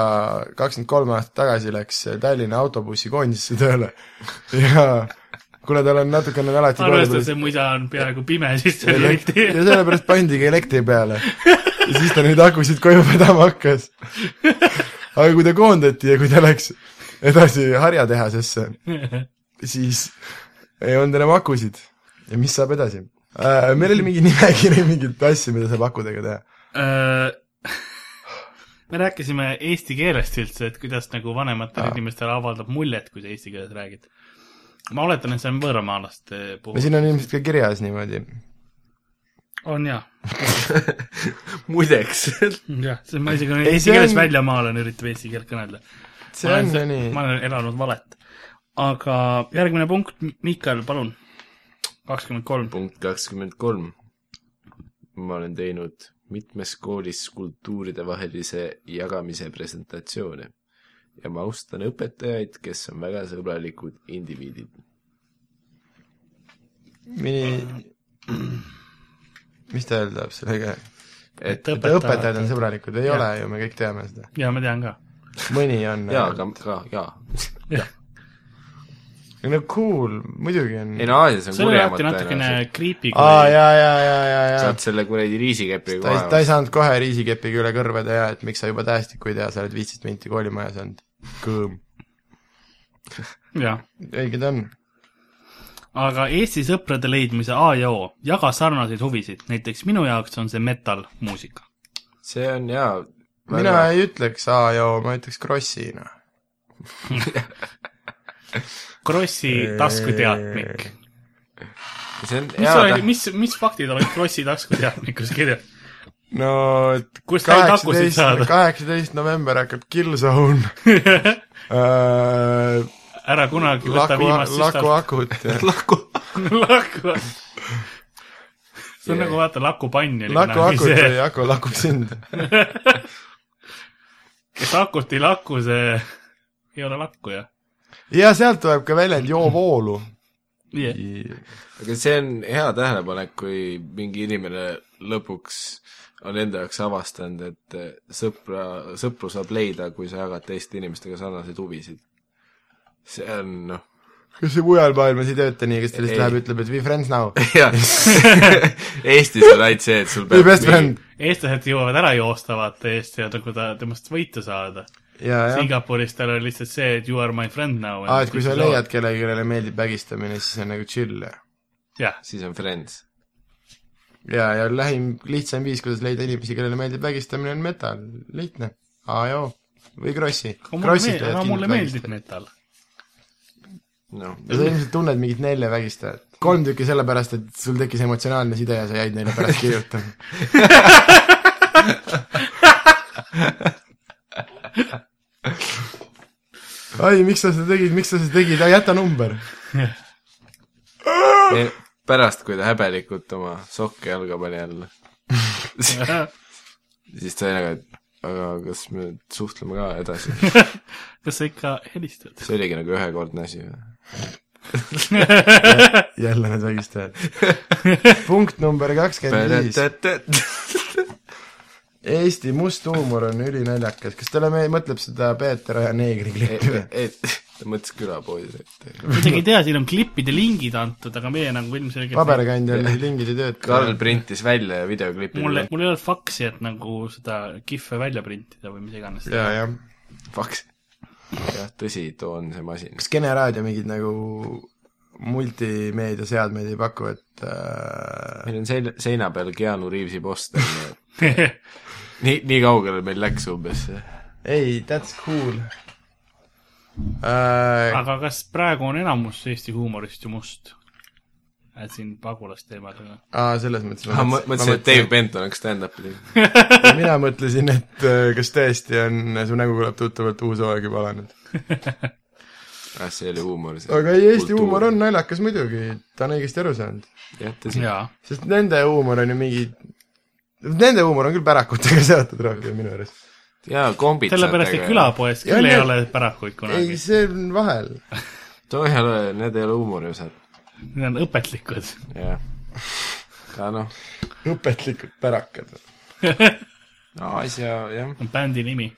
Speaker 3: kakskümmend kolm aastat tagasi läks äh, Tallinna autobussikoondisse tööle ja kuna tal on natukene alati
Speaker 5: arvestades , et mu isa on peaaegu pime , siis see
Speaker 3: Elekt-
Speaker 5: lüliti
Speaker 3: ja . sellepärast pandigi elektri peale . ja siis ta neid akusid koju vedama hakkas . aga kui ta koondati ja kui ta läks edasi harjatehasesse , siis ei olnud enam akusid . ja mis saab edasi äh, ? meil oli mingi nimekiri mingit asja , mida saab akudega teha .
Speaker 5: Äh, me rääkisime eesti keelest üldse , et kuidas nagu vanematele
Speaker 3: Aa.
Speaker 5: inimestele avaldab muljet , kui sa eesti keeles räägid . ma oletan , et see on võõramaalaste
Speaker 3: no
Speaker 5: puhul .
Speaker 3: siin on ilmselt ka kirjas niimoodi .
Speaker 5: on jaa ,
Speaker 4: muideks ,
Speaker 5: jah , see ma isegi olen
Speaker 3: Ei,
Speaker 5: eesti
Speaker 3: see
Speaker 5: keeles
Speaker 3: on-
Speaker 5: välja maalan , üritab eesti keelt kõnelda .
Speaker 3: see on ju nii .
Speaker 5: ma olen elanud valet . aga järgmine punkt , Mikael , palun . kakskümmend kolm .
Speaker 4: punkt kakskümmend kolm . ma olen teinud mitmes koolis kultuuridevahelise jagamise presentatsioone ja ma austan õpetajaid , kes on väga sõbralikud indiviidid .
Speaker 3: mini , mis ta öelda tahab sellega ?
Speaker 4: et
Speaker 3: õpetajad on . sõbralikud , ei
Speaker 5: Jah.
Speaker 3: ole ju , me kõik teame seda .
Speaker 5: jaa , ma tean ka .
Speaker 3: mõni on .
Speaker 4: jaa , aga ka , jaa .
Speaker 3: no cool , muidugi on .
Speaker 4: ei no Aasias on
Speaker 5: see oli
Speaker 4: kurjemad
Speaker 5: alati natukene
Speaker 4: tõenäoliselt .
Speaker 5: creepy , kui
Speaker 3: aa , jaa , jaa , jaa , jaa , jaa
Speaker 4: saad . selle kuradi
Speaker 3: ta
Speaker 4: riisikepiga
Speaker 3: ei , ta
Speaker 4: kohe
Speaker 3: ei . saanud kohe riisikepiga üle kõrve teha , et miks sa juba tähestikku ei tea , sa oled viisteist minti koolimajas olnud . kõõm .
Speaker 5: jah .
Speaker 3: õige ta on .
Speaker 5: aga Eesti sõprade leidmise A ja O , jaga sarnaseid huvisid , näiteks minu jaoks on see metal-muusika .
Speaker 4: see on jaa .
Speaker 3: mina ei ütleks A ja O , ma ütleks noh. Krossina .
Speaker 5: Krossi taskuteadmik .
Speaker 4: see on
Speaker 5: mis
Speaker 4: jaa ,
Speaker 5: oli , mis , mis faktid olid Krossi taskuteadmikus kirjas ?
Speaker 3: no
Speaker 5: Kust ta takusid saada?
Speaker 3: kaheksateist november hakkab Killzone Äh,
Speaker 5: ära kunagi võta
Speaker 3: laku ,
Speaker 5: viimast
Speaker 3: laku
Speaker 5: sista ,
Speaker 3: akut ja
Speaker 4: laku ,
Speaker 5: laku . see on nagu vaata lakupann oli
Speaker 3: laku akut või
Speaker 5: see ,
Speaker 3: aku lakub sind .
Speaker 5: kes akut ei laku , see ei ole lakku jah
Speaker 3: ja sealt tuleb ka väljend joovoolu .
Speaker 5: yeah. .
Speaker 4: aga see on hea tähelepanek , kui mingi inimene lõpuks on enda jaoks avastanud , et eh, sõpra , sõpru saab leida , kui sa jagad teiste inimestega sarnaseid huvisid . see on noh ,
Speaker 3: kas see mujal maailmas ei tööta nii , kes ta
Speaker 4: Ei.
Speaker 3: lihtsalt läheb , ütleb , et we friends now .
Speaker 4: jaa , Eestis on ainult see , et sul
Speaker 3: We
Speaker 4: peab
Speaker 3: best friend .
Speaker 5: eestlased jõuavad ära joosta vaata eest ja nagu ta , temast võitu saada .
Speaker 3: ja , ja .
Speaker 5: Singapuris tal oli lihtsalt see , et you are my friend now .
Speaker 3: aa , et kui sa leiad kellegi , kellele meeldib vägistamine , siis see on nagu chill .
Speaker 5: jah ,
Speaker 4: siis on friends .
Speaker 3: ja , ja lähim , lihtsam viis , kuidas leida inimesi , kellele meeldib vägistamine , on metal . lihtne . A ja O või Krossi .
Speaker 5: aga mulle, meel, aga mulle meeldib metal .
Speaker 4: noh ,
Speaker 3: ja sa ilmselt tunned mingit nelja vägistajat . kolm tükki sellepärast , et sul tekkis emotsionaalne side ja sa jäid neile pärast kirjutama . ai , miks sa seda tegid , miks sa seda tegid , jäta number .
Speaker 4: pärast , kui ta häbelikult oma sokke jalga pani jälle , siis ta oli nagu , et aga kas me nüüd suhtleme ka edasi .
Speaker 5: kas sa ikka helistad ?
Speaker 4: see oligi nagu ühekordne asi või ?
Speaker 3: jälle need vägistajad . punkt number kakskümmend viis . Eesti must huumor on ülinaljakas . kas teile me- mõtleb seda Peeter Oja neegriklipi või ?
Speaker 4: et E, ta mõtles külapoodi , et
Speaker 5: ma isegi ei tea , siin on klippide lingid antud , aga meie nagu ilmselgelt
Speaker 3: paberkandjal need lingid ei tööta .
Speaker 4: Karl printis välja videoklipi
Speaker 5: mulle , mul ei olnud faksi , et nagu seda kihve välja printida või mis iganes .
Speaker 3: ja , jah .
Speaker 4: faks . jah , tõsi , too on see masin .
Speaker 3: kas Kene raadio mingeid nagu multimeediaseadmeid ei paku , et äh,
Speaker 4: meil on sein- , seina peal Keanu Reavesi poster , nii et nii , nii kaugele meil läks umbes .
Speaker 3: ei , that's cool äh, .
Speaker 5: aga kas praegu on enamus Eesti huumorist ju must ? et siin pagulasteemadega .
Speaker 3: aa , selles mõttes
Speaker 4: ma mõ- mõtlesin , et Dave Benton hakkas stand-up'i tegema .
Speaker 3: Dave . mina mõtlesin , et äh, kas tõesti on , su nägu kõlab tuttavalt , uus hooaeg juba alanud .
Speaker 4: ah , see oli huumor .
Speaker 3: aga ei , Eesti huumor on . naljakas muidugi , ta on õigesti aru saanud .
Speaker 4: jah , tõsi .
Speaker 5: jaa .
Speaker 3: sest nende huumor on ju mingi , nende huumor on küll pärakutega seotud rohkem minu arust .
Speaker 4: jaa , kombid .
Speaker 5: sellepärast , et . külapoes
Speaker 3: Ja
Speaker 5: küll ei
Speaker 3: need-
Speaker 5: ole pärakuid
Speaker 3: ei ,
Speaker 5: kunagi .
Speaker 3: see on vahel .
Speaker 4: too ei ole , need ei ole huumoriosad .
Speaker 5: Need on õpetlikud .
Speaker 4: jah . aga noh ,
Speaker 3: õpetlikud pärakad .
Speaker 4: asja , jah .
Speaker 5: on bändi nimi .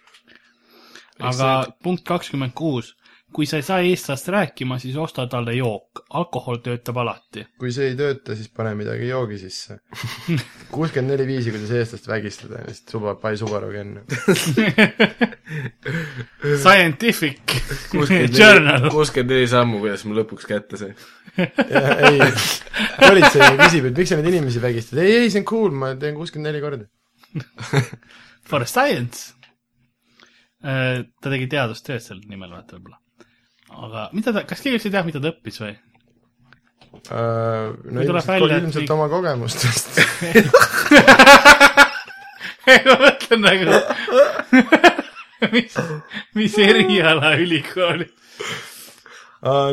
Speaker 5: aga punkt kakskümmend kuus . kui sa ei saa eestlast rääkima , siis osta talle jook . alkohol töötab alati .
Speaker 3: kui see ei tööta , siis pane midagi joogi sisse . kuuskümmend neli viisi , kuidas eestlast vägistada , lihtsalt suba , pai subaru kennu .
Speaker 5: Scientific journal .
Speaker 4: kuuskümmend neli sammu , kuidas ma lõpuks kätte sain .
Speaker 3: ei , politsei küsib , et miks sa neid inimesi vägistad , ei , ei , see on cool , ma teen kuuskümmend neli korda .
Speaker 5: For science . ta tegi teadustööd selle nimel , vaata võib-olla . aga mida ta , kas keegi üldse teab , mida ta õppis või ?
Speaker 3: Äh, no
Speaker 5: Kui tuleb
Speaker 3: ilmselt,
Speaker 5: välja,
Speaker 3: välja,
Speaker 5: et
Speaker 3: ilmselt
Speaker 5: kõik-
Speaker 3: kõik... oma kogemustest .
Speaker 5: ma mõtlen nagu , mis , mis eriala ülikooli .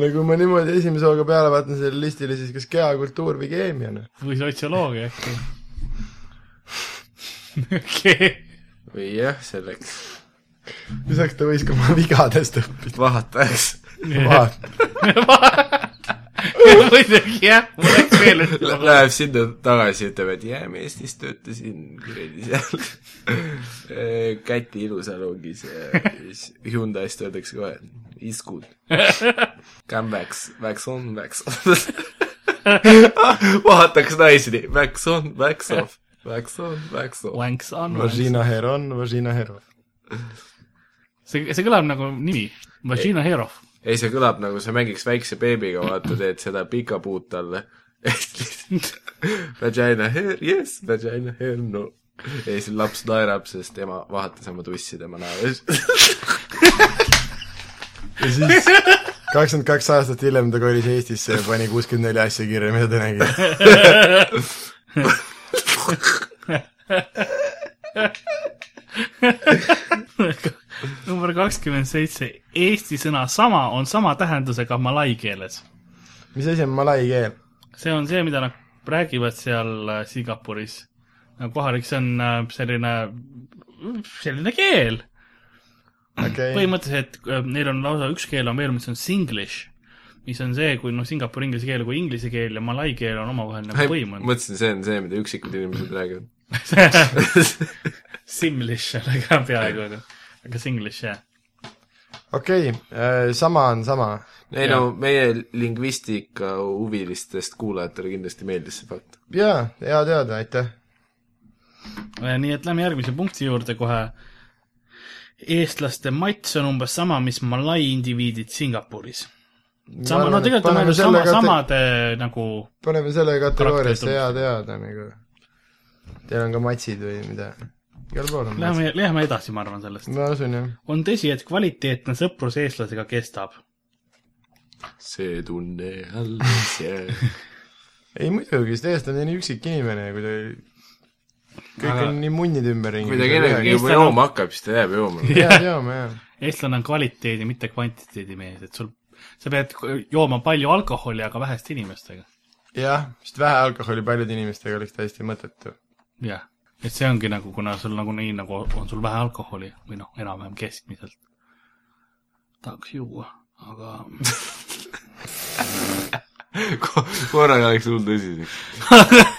Speaker 3: nagu ma niimoodi esimese hooga peale vaatan sellele listile , siis kas kehakultuur või keemia , noh .
Speaker 5: või sotsioloogia äkki . okei ,
Speaker 4: või jah , selleks
Speaker 3: lisaks ta võis ka oma vigadest õppida .
Speaker 4: vahatajaks .
Speaker 3: vaata ,
Speaker 5: muidugi jah , mul läks veel üks
Speaker 4: Lä- . Läheb sinna tagasi , ütleb , et jaa , ma Eestis töötasin kuradi seal eh, Käti ilusalongis ja siis Hyundai'st öeldakse kohe , it's good . Come backs , backs on , backs off . vaataks naisi nii , backs on , backs off , backs on , backs off .
Speaker 5: Wanks on . see ,
Speaker 3: Vagina Heron , Vagina Heron .
Speaker 5: see kõlab nagu nimi . Vagina Herov .
Speaker 4: ei , see kõlab nagu sa mängiks väikse beebiga , vaata , teed seda pika puud talle Vagina hair , yes , vagina hair , no . ja siis laps naerab , sest ema vahetas oma tussi tema naeres .
Speaker 3: ja siis kakskümmend kaks aastat hiljem ta kolis Eestisse ja pani kuuskümmend neli asja kirja , mida ta nägi .
Speaker 5: number kakskümmend seitse . Eesti sõna sama on sama tähendusega malai keeles .
Speaker 3: mis asi on malai keel ?
Speaker 5: see on see , mida nad räägivad seal äh, Singapuris . kohalik , see on äh, selline , selline keel
Speaker 3: okei okay. ,
Speaker 5: põhimõtteliselt äh, neil on lausa üks keel on veel , mis on singlish , mis on see , kui noh , Singapuri inglise keel kui inglise keel ja malai keel on omavahel nagu põimunud .
Speaker 4: mõtlesin , see on see , mida üksikud inimesed räägivad .
Speaker 5: Simlish on ka peaaegu , aga singlish jah .
Speaker 3: okei , sama on sama .
Speaker 4: ei no meie lingvistika huvilistest kuulajatele kindlasti meeldis see fakt .
Speaker 3: jaa , hea teada , aitäh .
Speaker 5: Äh, nii et lähme järgmise punkti juurde kohe . eestlaste mats on umbes sama , mis malai indiviidid Singapuris . sama , no tegelikult on nagu sama , samade nagu
Speaker 3: paneme selle kategooriasse
Speaker 5: Karakterid
Speaker 3: hea teada nagu . Teil on ka matsid või mida ? igal pool on matsid .
Speaker 5: Läheme , läheme edasi , ma arvan sellest .
Speaker 3: ma usun jah .
Speaker 5: on tõsi , et kvaliteetne sõprus eestlasega kestab .
Speaker 4: see tunne alles jääb .
Speaker 3: ei muidugi , sest eestlane on nii üksik inimene , kui ta kõik on nii munnid ümberringi .
Speaker 4: kui ta kellegagi juba
Speaker 5: Eestlane on-
Speaker 4: jooma hakkab , siis ta jääb jooma .
Speaker 3: jaa , joome jah .
Speaker 5: eestlane on kvaliteedi , mitte kvantiteedi mees , et sul , sa pead jooma palju alkoholi , aga väheste inimestega .
Speaker 3: jah , sest vähe alkoholi paljude inimestega oleks täiesti mõttetu .
Speaker 5: jah , et see ongi nagu , kuna sul nagu nii nagu on sul vähe alkoholi või noh , enam-vähem keskmiselt . tahaks juua , aga
Speaker 4: korraga läks hull tõsiseks .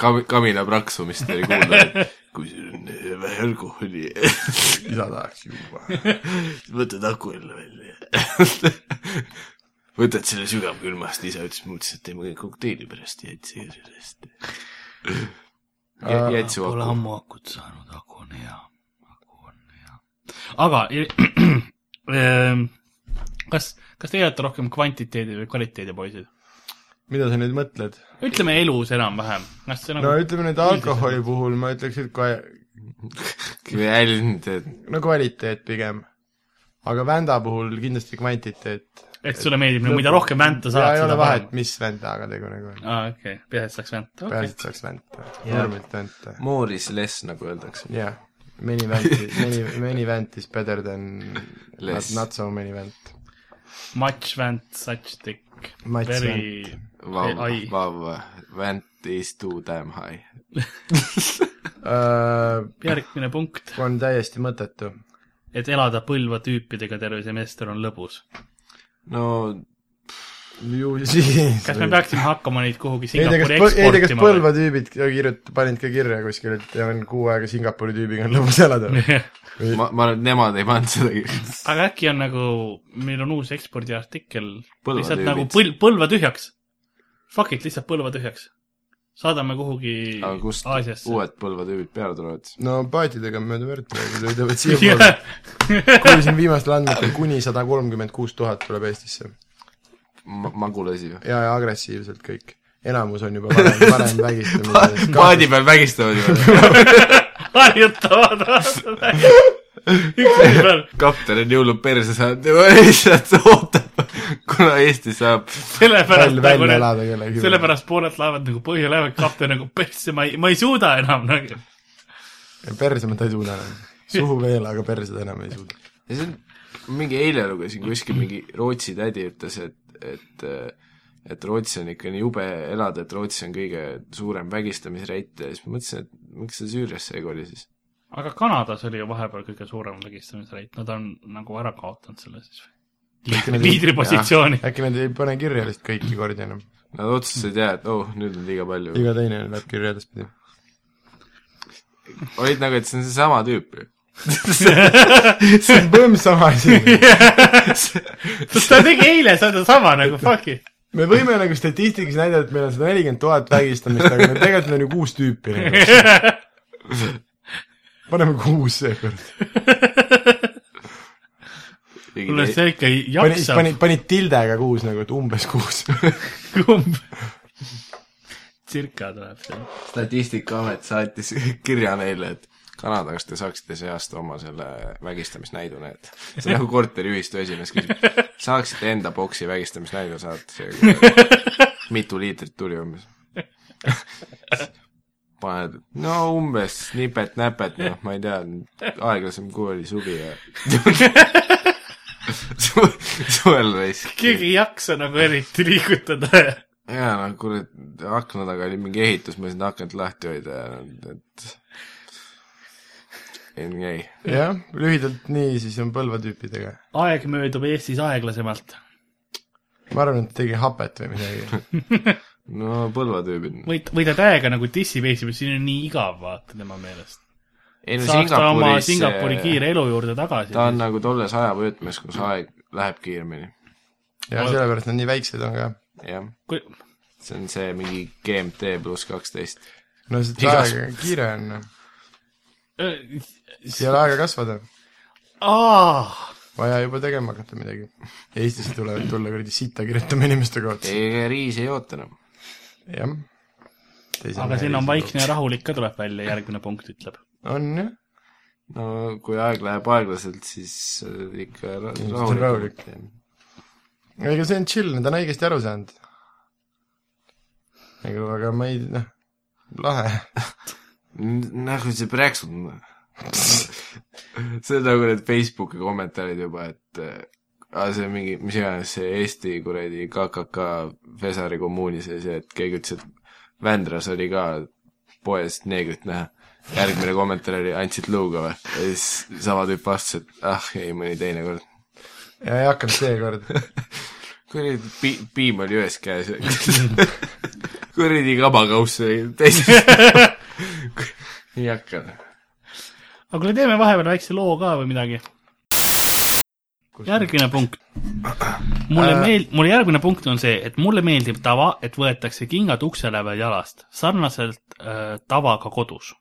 Speaker 4: Kam- , kamina praksumist oli kuulda , et kui sul on vähe alkoholi ,
Speaker 3: isa tahaks juua .
Speaker 4: võtad aku jälle välja . võtad selle sügavkülmast , isa ütles , ma mõtlesin , et teeme kõik kokteili pärast , jäid siia sellest . jäid su
Speaker 5: pole
Speaker 4: aku .
Speaker 5: ammu akut saanud , aku on hea , aku on hea . aga ehm, kas , kas teie olete rohkem kvantiteedi või kvaliteedi poisid ?
Speaker 3: mida sa nüüd mõtled ?
Speaker 5: ütleme elus enam-vähem , kas see nagu
Speaker 3: no ütleme nüüd alkoholi puhul ma ütleks , et ka
Speaker 4: jälgnud , et
Speaker 3: no kvaliteet pigem . aga vända puhul kindlasti kvantiteet .
Speaker 5: et sulle meeldib , mida rohkem vänta saad ,
Speaker 3: ei
Speaker 5: seda
Speaker 3: ole vahet ,. mis vändaga tegu nagu on .
Speaker 5: aa , Ah, okei , peaasi , et saaks vänta , okei
Speaker 3: peaasi , . et saaks vänta . normilt vänta .
Speaker 4: more is less , nagu öeldakse .
Speaker 3: jah , many vänti , many , many vent is better than not,
Speaker 4: Less.
Speaker 3: not so many vent .
Speaker 5: Much vent , such thick ,
Speaker 3: Much
Speaker 5: very ,
Speaker 4: Vav
Speaker 5: Ai. ,
Speaker 4: vav , vent is too damn high .
Speaker 5: järgmine punkt ,
Speaker 3: Äh, on täiesti mõttetu .
Speaker 5: et elada Põlva tüüpidega terve semester on lõbus .
Speaker 4: no
Speaker 3: ju siis .
Speaker 5: kas me peaksime hakkama neid kuhugi
Speaker 3: ei tea , kas
Speaker 5: Singapuri ,
Speaker 3: ei tea , kas
Speaker 5: eksportima
Speaker 3: Põlva tüübid ka kirjut- , panid ka kirja kuskile , et on kuu aega Singapuri tüübiga on lõbus elada .
Speaker 5: või ?
Speaker 4: ma , ma arvan , et nemad ei pannud seda kirja .
Speaker 5: aga äkki on nagu , meil on uus ekspordiartikkel ,
Speaker 4: Põlva
Speaker 5: lihtsalt
Speaker 4: tüübid.
Speaker 5: nagu põl- , Põlva tühjaks . Fuck it , lihtsalt Põlva tühjaks . saadame kuhugi
Speaker 4: aga kust
Speaker 5: Aasiasse .
Speaker 4: uued põlvetüübid peale tulevad ?
Speaker 3: no paatidega on mööda verd praegu , nad ütlevad siiapoole .
Speaker 5: jah ,
Speaker 3: kuulsin viimastel andmetel , kuni sada kolmkümmend kuus tuhat tuleb Eestisse
Speaker 4: magulasi või ?
Speaker 3: ja , ja agressiivselt kõik . enamus on juba varem , varem vägistamises .
Speaker 4: paadi peal vägistavad ju .
Speaker 5: harjutavad aastad . üksteise peal
Speaker 4: kapten on jõulud perse saanud ja lihtsalt ootab , kuna Eesti saab .
Speaker 5: sellepärast
Speaker 3: välja ,
Speaker 5: nagu
Speaker 3: välja
Speaker 5: need ,
Speaker 3: elada kellegi üle .
Speaker 5: sellepärast pooled laevad nagu põhjalaevad kapten nagu persse , ma ei , ma ei suuda enam nagu .
Speaker 3: perse ma ta ei suuda enam . suhu veel , aga perse ta enam ei suuda .
Speaker 4: ja see on , mingi eile lugesin kuskil , mingi Rootsi tädi ütles , et , et et Rootsi on ikka nii jube elada , et Rootsi on kõige suurem vägistamisreit ja siis ma mõtlesin , et miks sa Süüriasse ei koli siis .
Speaker 5: aga Kanadas oli ju vahepeal kõige suurem vägistamisreit , nad on nagu ära kaotanud selle siis või ?
Speaker 3: nad-
Speaker 5: liidripositsiooni .
Speaker 3: äkki nad ei pane kirja vist kõiki kordi enam .
Speaker 4: Nad otsustasid jah , et oh , nüüd on liiga palju .
Speaker 3: iga teine läheb kirja edaspidi .
Speaker 4: olid nagu , et see on seesama tüüp ju .
Speaker 3: see on põmm sama asi .
Speaker 5: ta tegi eile sedasama nagu fuck'i .
Speaker 3: me võime nagu statistikas näidata , et meil on sada nelikümmend tuhat vägistamist , aga meil tegelikult meil on ju kuus tüüpi nagu. . paneme kuus seekord .
Speaker 5: kuule , see ikka ei
Speaker 3: panid ,
Speaker 5: jaksa .
Speaker 3: panid , panid tildega kuus nagu , et umbes kuus .
Speaker 5: kumb ? circa tuleb see .
Speaker 4: statistikaamet saatis kirja neile , et Kanadas te saaksite see aasta oma selle vägistamisnäidune , et see on nagu korteriühistu esimees küsib , saaksite enda boksi vägistamisnäidu saata , mitu liitrit tuli umbes ? paned , no umbes nipet-näpet , noh , ma ei tea , aeglasem kui oli suvi ja Su- suvel raisk .
Speaker 5: keegi ei jaksa nagu eriti liigutada .
Speaker 4: jaa , no kurat , akna taga oli mingi ehitus , ma ei saanud akent lahti hoida ja et ei , ei ,
Speaker 3: jah , lühidalt nii siis on Põlva tüüpidega .
Speaker 5: aeg möödub Eestis aeglasemalt .
Speaker 3: ma arvan , et tegi hapet või midagi .
Speaker 4: no Põlva tüübid .
Speaker 5: või , või ta täiega nagu dissib Eestit , siin on nii igav , vaata tema meelest .
Speaker 4: ei no
Speaker 5: saaks ta oma
Speaker 4: Singapuris ,
Speaker 5: Singapuri kiire elu juurde tagasi .
Speaker 4: ta on nagu tolles ajavõtmes , kus aeg läheb kiiremini ,
Speaker 3: ja sellepärast nad nii väiksed on ka .
Speaker 4: jah .
Speaker 5: Kui...
Speaker 4: see on see mingi GMT pluss kaksteist .
Speaker 3: no see
Speaker 4: Igas-
Speaker 3: aeg , kiire on .
Speaker 5: Äh,
Speaker 3: ei ole aega kasvada .
Speaker 5: aa ,
Speaker 3: vaja juba tegema hakata midagi . Eestisse tulevad tulla kuradi sita kirjutama inimeste kohta .
Speaker 4: ega riis ei oota enam .
Speaker 3: jah .
Speaker 5: aga siin on . vaikne ja rahulik ka tuleb välja , järgmine punkt ütleb .
Speaker 3: on jah ,
Speaker 4: no kui aeg läheb aeglaselt , siis äh, ikka ra-
Speaker 3: Ilmselt on
Speaker 4: rahulikult .
Speaker 3: ega see on chill , nad on õigesti aru saanud . ega , aga ma ei , noh , lahe .
Speaker 4: nagu see präksud . see on nagu need Facebooki kommentaarid juba , et äh, aa , see on mingi , mis iganes see Eesti kuradi KKK Fesari kommuuni sees ja et keegi ütles , et Vändras oli ka poest neegrit näha . järgmine kommentaar oli , andsid luuga või ? ja siis sama tüüp vastas , et ah ei , mõni teine kord .
Speaker 3: ja ei hakanud seekord .
Speaker 4: kuradi pi- , piim oli ühes käes . kuradi kabakauss oli teises . ei hakka .
Speaker 5: aga kuule , teeme vahepeal väikse loo ka või midagi . järgmine punkt . mulle
Speaker 4: Äh.
Speaker 5: meeld- , mulle järgmine punkt on see , et mulle meeldib tava , et võetakse kingad uksele või jalast , sarnaselt äh, tavaga kodus .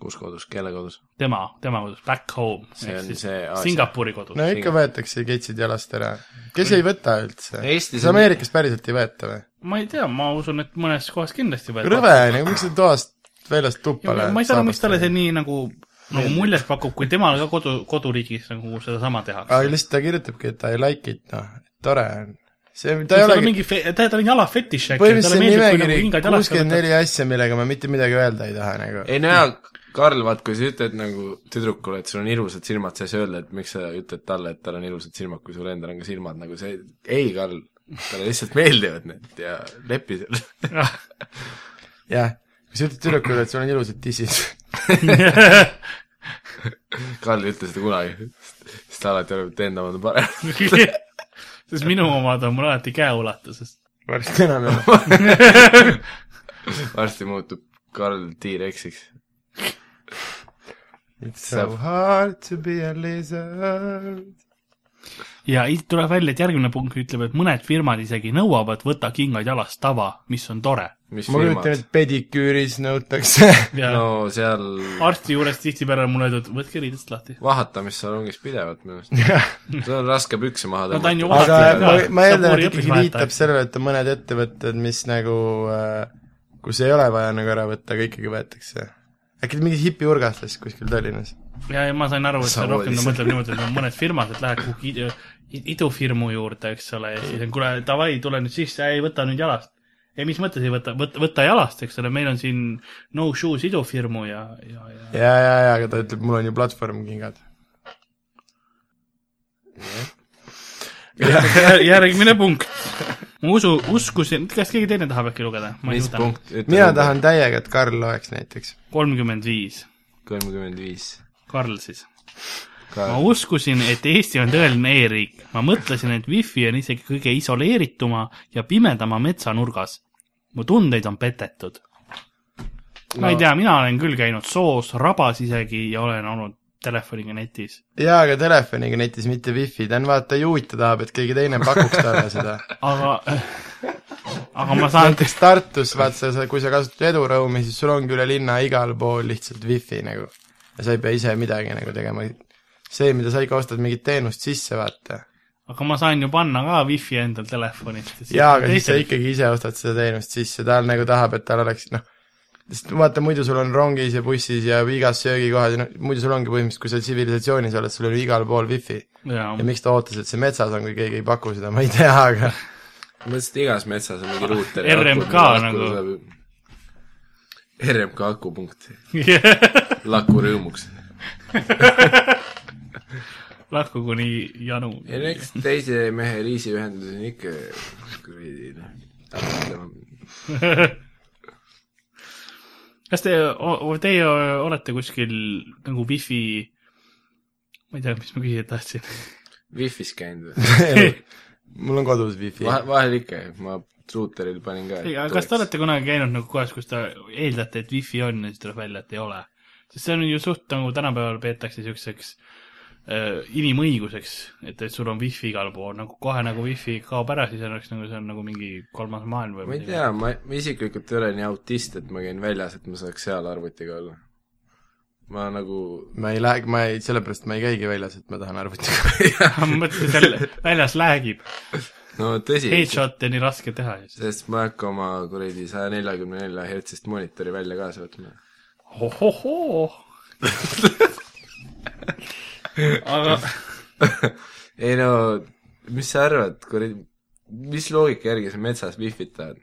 Speaker 4: kus kodus , kelle kodus ?
Speaker 5: tema , tema kodus , back home .
Speaker 4: See on see Aasia.
Speaker 5: Singapuri kodus
Speaker 3: no
Speaker 5: no. .
Speaker 3: ikka võetakse ketsid jalast ära . kes ei võta üldse ?
Speaker 4: Eestis
Speaker 3: kas
Speaker 4: on-
Speaker 3: Ameerikas päriselt ei võeta või ?
Speaker 5: ma ei tea , ma usun , et mõnes kohas kindlasti võetakse .
Speaker 3: rõve on ju , miks sa toast väljast tuppa
Speaker 5: ja
Speaker 3: lähed ?
Speaker 5: ma ei saa aru , miks talle see . nii nagu , nagu muljet pakub , kui temal ka kodu , koduriigis nagu sedasama tehakse .
Speaker 3: aga lihtsalt ta kirjutabki , et I like it , noh , tore on . see , ta
Speaker 5: tal
Speaker 3: ei
Speaker 5: on
Speaker 3: olegi ,
Speaker 5: mingi , tal on jala fetiš äkki ,
Speaker 3: põhimõtteliselt
Speaker 5: talle
Speaker 3: see
Speaker 5: meeldib , kui nagu
Speaker 3: nimekiri ,
Speaker 5: hingad jalast
Speaker 3: kuuskümmend
Speaker 5: võtad .
Speaker 3: neli asja , millega ma mitte midagi öelda ei taha nagu .
Speaker 4: ei no jaa , Karl , vaat kui sa ütled nagu tüdrukule , et sul on ilusad silmad , sa ei saa öelda , et miks sa ütled talle , et tal on ilusad silmad , kui sul endal on ka silmad nagu see , ei Karl , talle lihtsalt meeldivad need ja lepi selle .
Speaker 3: jah , kui sa ütled tüdrukule , et sul on ilusad tissid .
Speaker 4: Karl ei ütle seda kunagi , sest ta alati arvab , et enda omad on paremad .
Speaker 5: sest minu omad on mul alati käeulatuses .
Speaker 3: varsti enam ei ole .
Speaker 4: varsti muutub Karl T-Rexiks .
Speaker 3: It's so hard to be a lizard .
Speaker 5: ja siit tuleb välja , et järgmine punkt ütleb , et mõned firmad isegi nõuavad , võta kingad jalast tava , mis on tore .
Speaker 4: mis
Speaker 3: ma kujutan
Speaker 4: firmad
Speaker 3: ette ,? et pediküüris nõutakse .
Speaker 5: ja no.
Speaker 4: no seal
Speaker 5: arsti juures tihtipeale on mulle öeldud , võtke riidest lahti .
Speaker 4: vahatamissalongis pidevalt minu meelest . sul on raske pükse maha
Speaker 5: no ta on ju
Speaker 4: tõmmata .
Speaker 3: aga ma,
Speaker 5: vahataja
Speaker 3: ma eeldan , et ikkagi viitab sellele , et on mõned ettevõtted , mis nagu , kus ei ole vaja nagu ära võtta , aga ikkagi võetakse . äkki mingi hipiurgastes kuskil Tallinnas .
Speaker 5: ja , ja ma sain aru , et see
Speaker 4: Sa
Speaker 5: rohkem ta
Speaker 4: voodis.
Speaker 5: mõtleb niimoodi , et on mõned firmad , et lähed kuhugi idu- idufirmu juurde , eks ole , ja siis on kuule , davai , tule nüüd sisse , ei võta nüüd jalast . ei , mis mõttes ei võta , võta , võta jalast , eks ole , meil on siin no shoes idufirmu ja , ja , ja
Speaker 3: ja , ja , ja , aga ta ütleb , mul on ju platvormkingad .
Speaker 5: Jär- järgmine punkt . ma usu , uskusin , kas keegi teine tahab äkki lugeda ?
Speaker 4: mis ? punkt ?
Speaker 3: mina . tahan täiega , et Karl loeks näiteks .
Speaker 5: kolmkümmend viis ,
Speaker 4: kolmkümmend viis
Speaker 5: Karl siis .
Speaker 4: ka
Speaker 5: ma uskusin , et Eesti on tõeline e-riik . ma mõtlesin , et wifi on isegi kõige isoleerituma ja pimedama metsanurgas . mu tundeid on petetud . ma ei tea , mina olen küll käinud soos , rabas isegi ja olen olnud telefoniga netis .
Speaker 3: jaa , aga telefoniga netis , mitte wifi , ta on vaata ju uita tahab , et keegi teine pakuks talle seda .
Speaker 5: aga , aga ma saan ,
Speaker 3: näiteks Tartus , vaata sa- sa , kui sa kasutad edurõumi , siis sul ongi üle linna igal pool lihtsalt wifi nagu . ja sa ei pea ise midagi nagu tegema . see , mida sa ikka ostad mingit teenust sisse , vaata .
Speaker 5: aga ma saan ju panna ka wifi endal telefonist .
Speaker 3: jaa , aga siis sa . ikkagi ise ostad seda teenust sisse , ta nagu tahab , et tal oleks noh , sest vaata muidu sul on rongis ja bussis ja igas söögikohas ja noh , muidu sul ongi põhimõtteliselt , kui sa tsivilisatsioonis oled , sul on ju igal pool wifi . ja miks ta ootas , et see metsas on , kui keegi ei paku seda , ma ei tea , aga
Speaker 4: ma mõtlesin , et igas metsas on mingi ruuter .
Speaker 5: RMK nagu. .
Speaker 4: RMK akupunkt ,
Speaker 5: jah .
Speaker 4: laku rõõmuks .
Speaker 5: lahku kuni janu .
Speaker 4: ja eks teise mehe riisiühendus on ikka kuradi noh , tähendab ,
Speaker 5: kas te , teie olete kuskil nagu wifi , ma ei tea , mis ma küsida tahtsin .
Speaker 4: wifi's käinud või ?
Speaker 3: mul on kodus wifi .
Speaker 4: vahel , vahel ikka , ma ruuteril panin ka .
Speaker 5: aga kas te ? olete kunagi käinud nagu kohas , kus te eeldate , et wifi on ja siis tuleb välja , et ei ole ? sest see on ju suht nagu tänapäeval peetakse siukseks äh, inimõiguseks , et , et sul on wifi igal pool , nagu kohe nagu wifi kaob ära , siis oleks nagu see on nagu mingi kolmas maailm või
Speaker 4: ma ei . tea , ma , ma isiklikult ei ole nii autist , et ma käin väljas , et ma saaks seal arvutiga olla . ma nagu ,
Speaker 3: ma ei lähe , ma ei , sellepärast ma ei käigi väljas , et ma tahan arvutiga .
Speaker 5: ma mõtlesin , seal väljas läägib ,
Speaker 4: no tõsi .
Speaker 5: headshot'e nii raske teha ju .
Speaker 4: sest ma ei hakka oma kuradi saja neljakümne nelja hertsist monitori välja kaasa võtma .
Speaker 5: ohohoo aga
Speaker 4: ei no , mis sa arvad , kuradi , mis loogika järgi sa metsas wifi't tahad ?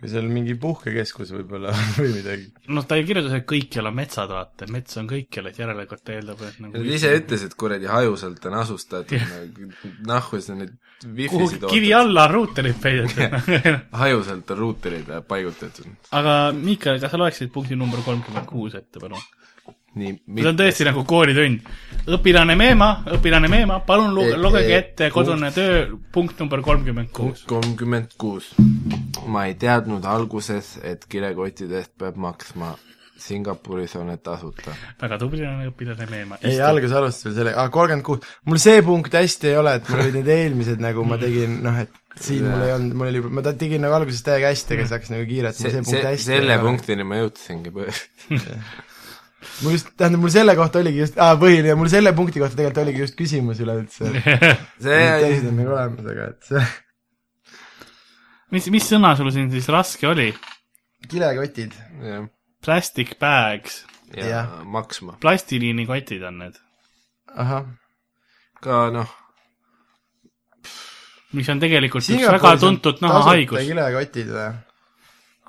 Speaker 3: või seal mingi puhkekeskus võib-olla või midagi .
Speaker 5: noh , ta ju kirjutas , et kõikjal on metsad , vaata , mets on kõikjal , et järelikult ta eeldab , et nagu
Speaker 4: Nad ise ütlesid , kuradi hajusalt on asustatud , nahku sa neid
Speaker 5: kuhugi
Speaker 4: wifi'sid
Speaker 5: kivi
Speaker 4: ootad .
Speaker 5: alla on ruuterid peidetud .
Speaker 4: hajusalt on ruuterid paigutatud .
Speaker 5: aga Miikal , kas sa loeksid punkti number kolmkümmend kuus ette , palun ?
Speaker 4: nii ,
Speaker 5: see on tõesti nagu koolitund . õpilane Meema , õpilane Meema , palun lu-
Speaker 4: E-
Speaker 5: lugege
Speaker 4: e-
Speaker 5: ette kodune töö punkt number kolmkümmend kuus .
Speaker 4: kolmkümmend kuus . ma ei teadnud alguses , et kilekottidest peab maksma . Singapuris on need tasuta .
Speaker 5: väga tubli on õpilane Meema .
Speaker 3: ei , alguses alustasin selle , aa , kolmkümmend kuus , mul see punkt hästi ei ole , et mul olid need eelmised nagu ma tegin , noh , et siin mul ei olnud , mul oli , ma ta- tegin nagu alguses täiega hästi , aga siis hakkas nagu kiirelt , mul
Speaker 4: see ,
Speaker 3: see punkt
Speaker 4: see ,
Speaker 3: hästi ei
Speaker 4: selle
Speaker 3: ole .
Speaker 4: punktini ma jõudsingi põ-
Speaker 3: mul just , tähendab , mul selle kohta oligi just , aa , põhiline , mul selle punkti kohta tegelikult oligi just küsimus üleüldse .
Speaker 4: see
Speaker 3: teised , on nagu olemas , aga et see ,
Speaker 5: mis , mis sõna sul siin siis raske oli ?
Speaker 3: kilekotid .
Speaker 4: jah ,
Speaker 5: Plastic bags ,
Speaker 4: ja, ja
Speaker 3: Jah.
Speaker 4: maksma
Speaker 5: plastiliinikotid on need
Speaker 3: ahah ,
Speaker 4: ka noh ,
Speaker 5: mis on tegelikult üks väga tuntud nahahaigus .
Speaker 3: kilekotid või ?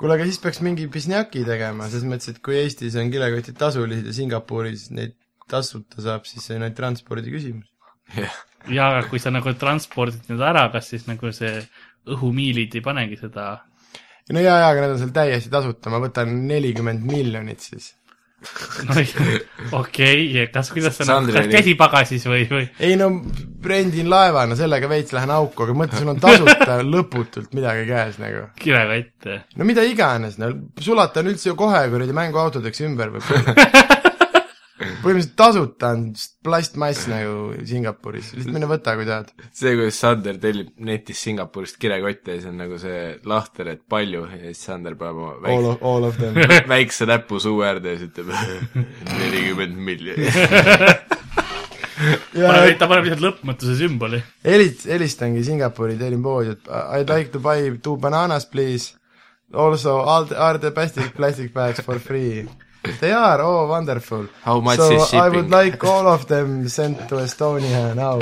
Speaker 3: kuule , aga siis peaks mingi pisnjaki tegema , selles mõttes , et kui Eestis on kilekotid tasulised ja Singapuris neid tasuta saab , siis see on ainult transpordi küsimus .
Speaker 4: jah ,
Speaker 5: ja aga kui sa nagu transpordid need ära , kas siis nagu see õhumiilid ei panegi seda ,
Speaker 3: no jaa , jaa , aga need on seal täiesti tasuta , ma võtan nelikümmend miljonit siis .
Speaker 5: no okei , kas , kuidas sa nagu ,
Speaker 4: Sandri
Speaker 5: kas
Speaker 4: oli-
Speaker 5: käsipagasis või , või ?
Speaker 3: ei no rendin laeva , no sellega veits lähen auku , aga mõtle , sul on tasuta lõputult midagi käes nagu .
Speaker 5: kilekott .
Speaker 3: no mida iganes , no sulata on üldse ju kohe kuradi mänguautodeks ümber võib-olla . põhimõtteliselt tasuta on plastmass nagu Singapuris , lihtsalt mine võta , kui tahad .
Speaker 4: see , kuidas Sander tellib netis Singapurist kilekotte ja siis on nagu see lahter , et palju ja siis Sander paneb oma
Speaker 3: All
Speaker 4: väikse ,
Speaker 3: of , all of them .
Speaker 4: väikse näpu suu äärde ja siis ütleb nelikümmend miljonit .
Speaker 3: Äh.
Speaker 5: paneb , ta paneb lihtsalt lõpmatuse sümboli .
Speaker 3: helist- , helistangi Singapuri , tellin poodi , et I'd like to buy two bananas please . Also all the , are the plastic , plastic bags for free . They are , oh wonderful .
Speaker 4: How much
Speaker 3: so
Speaker 4: is
Speaker 3: I would
Speaker 4: shipping?
Speaker 3: like all of them sent to Estonia now .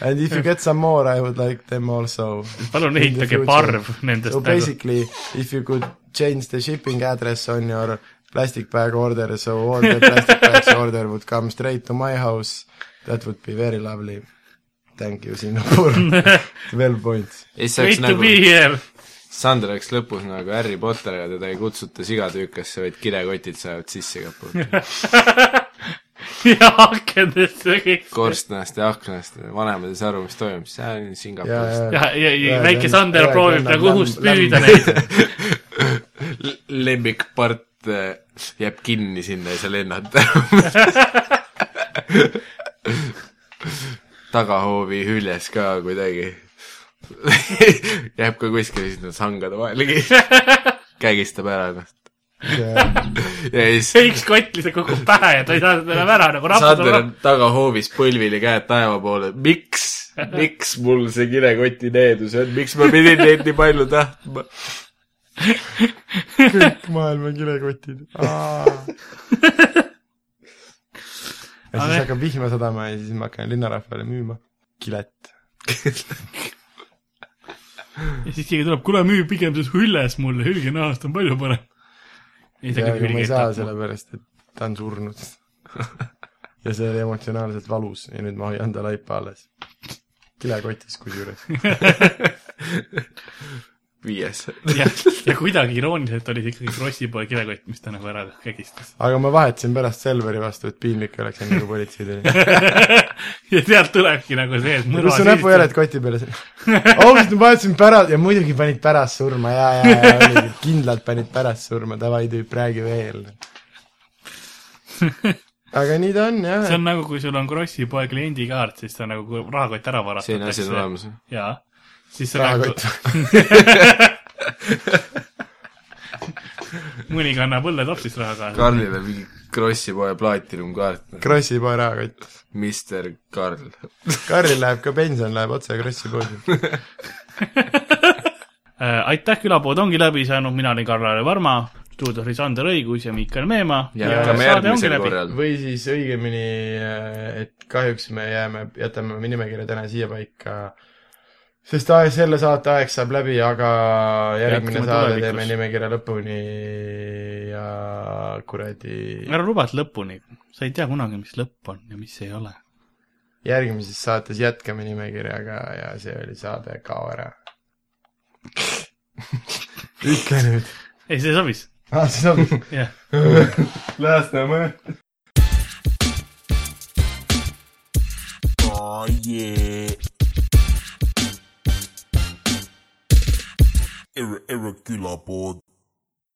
Speaker 3: And if you get some more , I would like them also .
Speaker 5: palun
Speaker 3: In the
Speaker 5: ehitage
Speaker 3: future.
Speaker 5: parv nendest
Speaker 3: So
Speaker 5: nagu.
Speaker 3: basically , if you could change the shipping address on your plastic bag order , so all the plastic bags order would come straight to my house . That would be very lovely . Thank you , Singapur . Twelve points .
Speaker 4: ja siis oleks
Speaker 5: nagu . Great to be
Speaker 4: nagu ,
Speaker 5: here .
Speaker 4: Sander oleks lõpus nagu Harry Potteriga , teda ei kutsuta sigatüükasse , vaid kilekotid saavad sisse ka .
Speaker 5: ja akendesse kõik .
Speaker 4: korstnast ja aknast , vanemad ei saa aru , mis toimub , siis äh, Singapuris .
Speaker 5: ja , ja, ja väike
Speaker 3: Lennart-
Speaker 5: Sander
Speaker 3: jaa,
Speaker 5: proovib
Speaker 3: Lennart
Speaker 5: nagu
Speaker 3: Lämm-
Speaker 5: õhust
Speaker 3: Lämm-
Speaker 5: püüda neid .
Speaker 4: lemmikpart äh, jääb kinni sinna , ei saa lennata . tagahoovi hüljes ka kuidagi jääb ka kuskile sinna sangade vahele kinni , kägistab ära ennast . ja siis
Speaker 5: üks kott lihtsalt kukub pähe ja ta ei saa seda enam ära nagu
Speaker 4: Sander on
Speaker 5: raputada .
Speaker 4: tagahoovis põlvili käed taeva poole , miks , miks mul see kilekoti needus on , miks ma pidin neid nii palju tahtma ?
Speaker 3: kõik maailma Ah. kilekotid . ja
Speaker 5: Aga-
Speaker 3: siis hakkab vihma sadama ja siis ma hakkan linnarahvale müüma kilet .
Speaker 5: ja siis keegi tuleb , kuule müü pigem siis hüljes mulle , hülgenahast on palju parem . ei
Speaker 3: ja
Speaker 5: saa
Speaker 3: aga
Speaker 5: küll
Speaker 3: ma ei saa ,
Speaker 5: hülgeid .
Speaker 3: sellepärast et ta on surnud . ja see oli emotsionaalselt valus ja nüüd ma hoian ta laipa alles . kilekotis kusjuures .
Speaker 4: viies .
Speaker 5: ja , ja kuidagi irooniliselt oli see ikkagi Krossipoe kilekott , mis ta nagu ära kägistas .
Speaker 3: aga ma vahetasin pärast Selveri vastu , et piinlik oleks enne kui politsei tuli .
Speaker 5: ja sealt tulebki nagu see , et mõrva
Speaker 3: kus su näpujäljed koti peal ja ausalt , ma vahetasin pärast ja muidugi panid pärast surma ja , ja , ja oligi. kindlalt panid pärast surma , davai tüüp , räägi veel . aga nii ta on jah
Speaker 5: see , on nagu , kui sul on Krossipoe kliendikaart , siis ta nagu kui rahakott ära varastatakse .
Speaker 4: selline asi on olemas .
Speaker 5: jaa . siis sa nagu
Speaker 3: rahakott ,
Speaker 5: mõni kannab õlletopsis raha kaasa .
Speaker 4: Karlil on mingi Krossi poe plaatinukaart ,
Speaker 3: Krossi poe rahakott .
Speaker 4: Mister Karl .
Speaker 3: Karl läheb ka pension , läheb otse Krossi poodi .
Speaker 5: Äh, aitäh , külapood ongi läbi saanud , mina olin Karl-Aar Varma , stuudios oli Sander Õigus ja Miikal Meemaa .
Speaker 4: jätkame järgmisel . korral .
Speaker 3: või siis õigemini , et kahjuks me jääme , jätame oma nimekirja täna siia paika , sest aeg , selle saate aeg saab läbi , aga järgmine
Speaker 5: Jätkame
Speaker 3: saade
Speaker 5: tulevikus.
Speaker 3: teeme nimekirja lõpuni ja kuradi ,
Speaker 5: ära luba , et lõpuni , sa ei tea kunagi , mis lõpp on ja mis ei ole .
Speaker 3: järgmises saates jätkame nimekirjaga ja see oli saade Kao ära . ütle nüüd .
Speaker 5: ei , see sobis ,
Speaker 3: aa , see sobib .
Speaker 5: jah .
Speaker 3: Lasnamäe .
Speaker 1: Oh yeah. Ir- irregular board.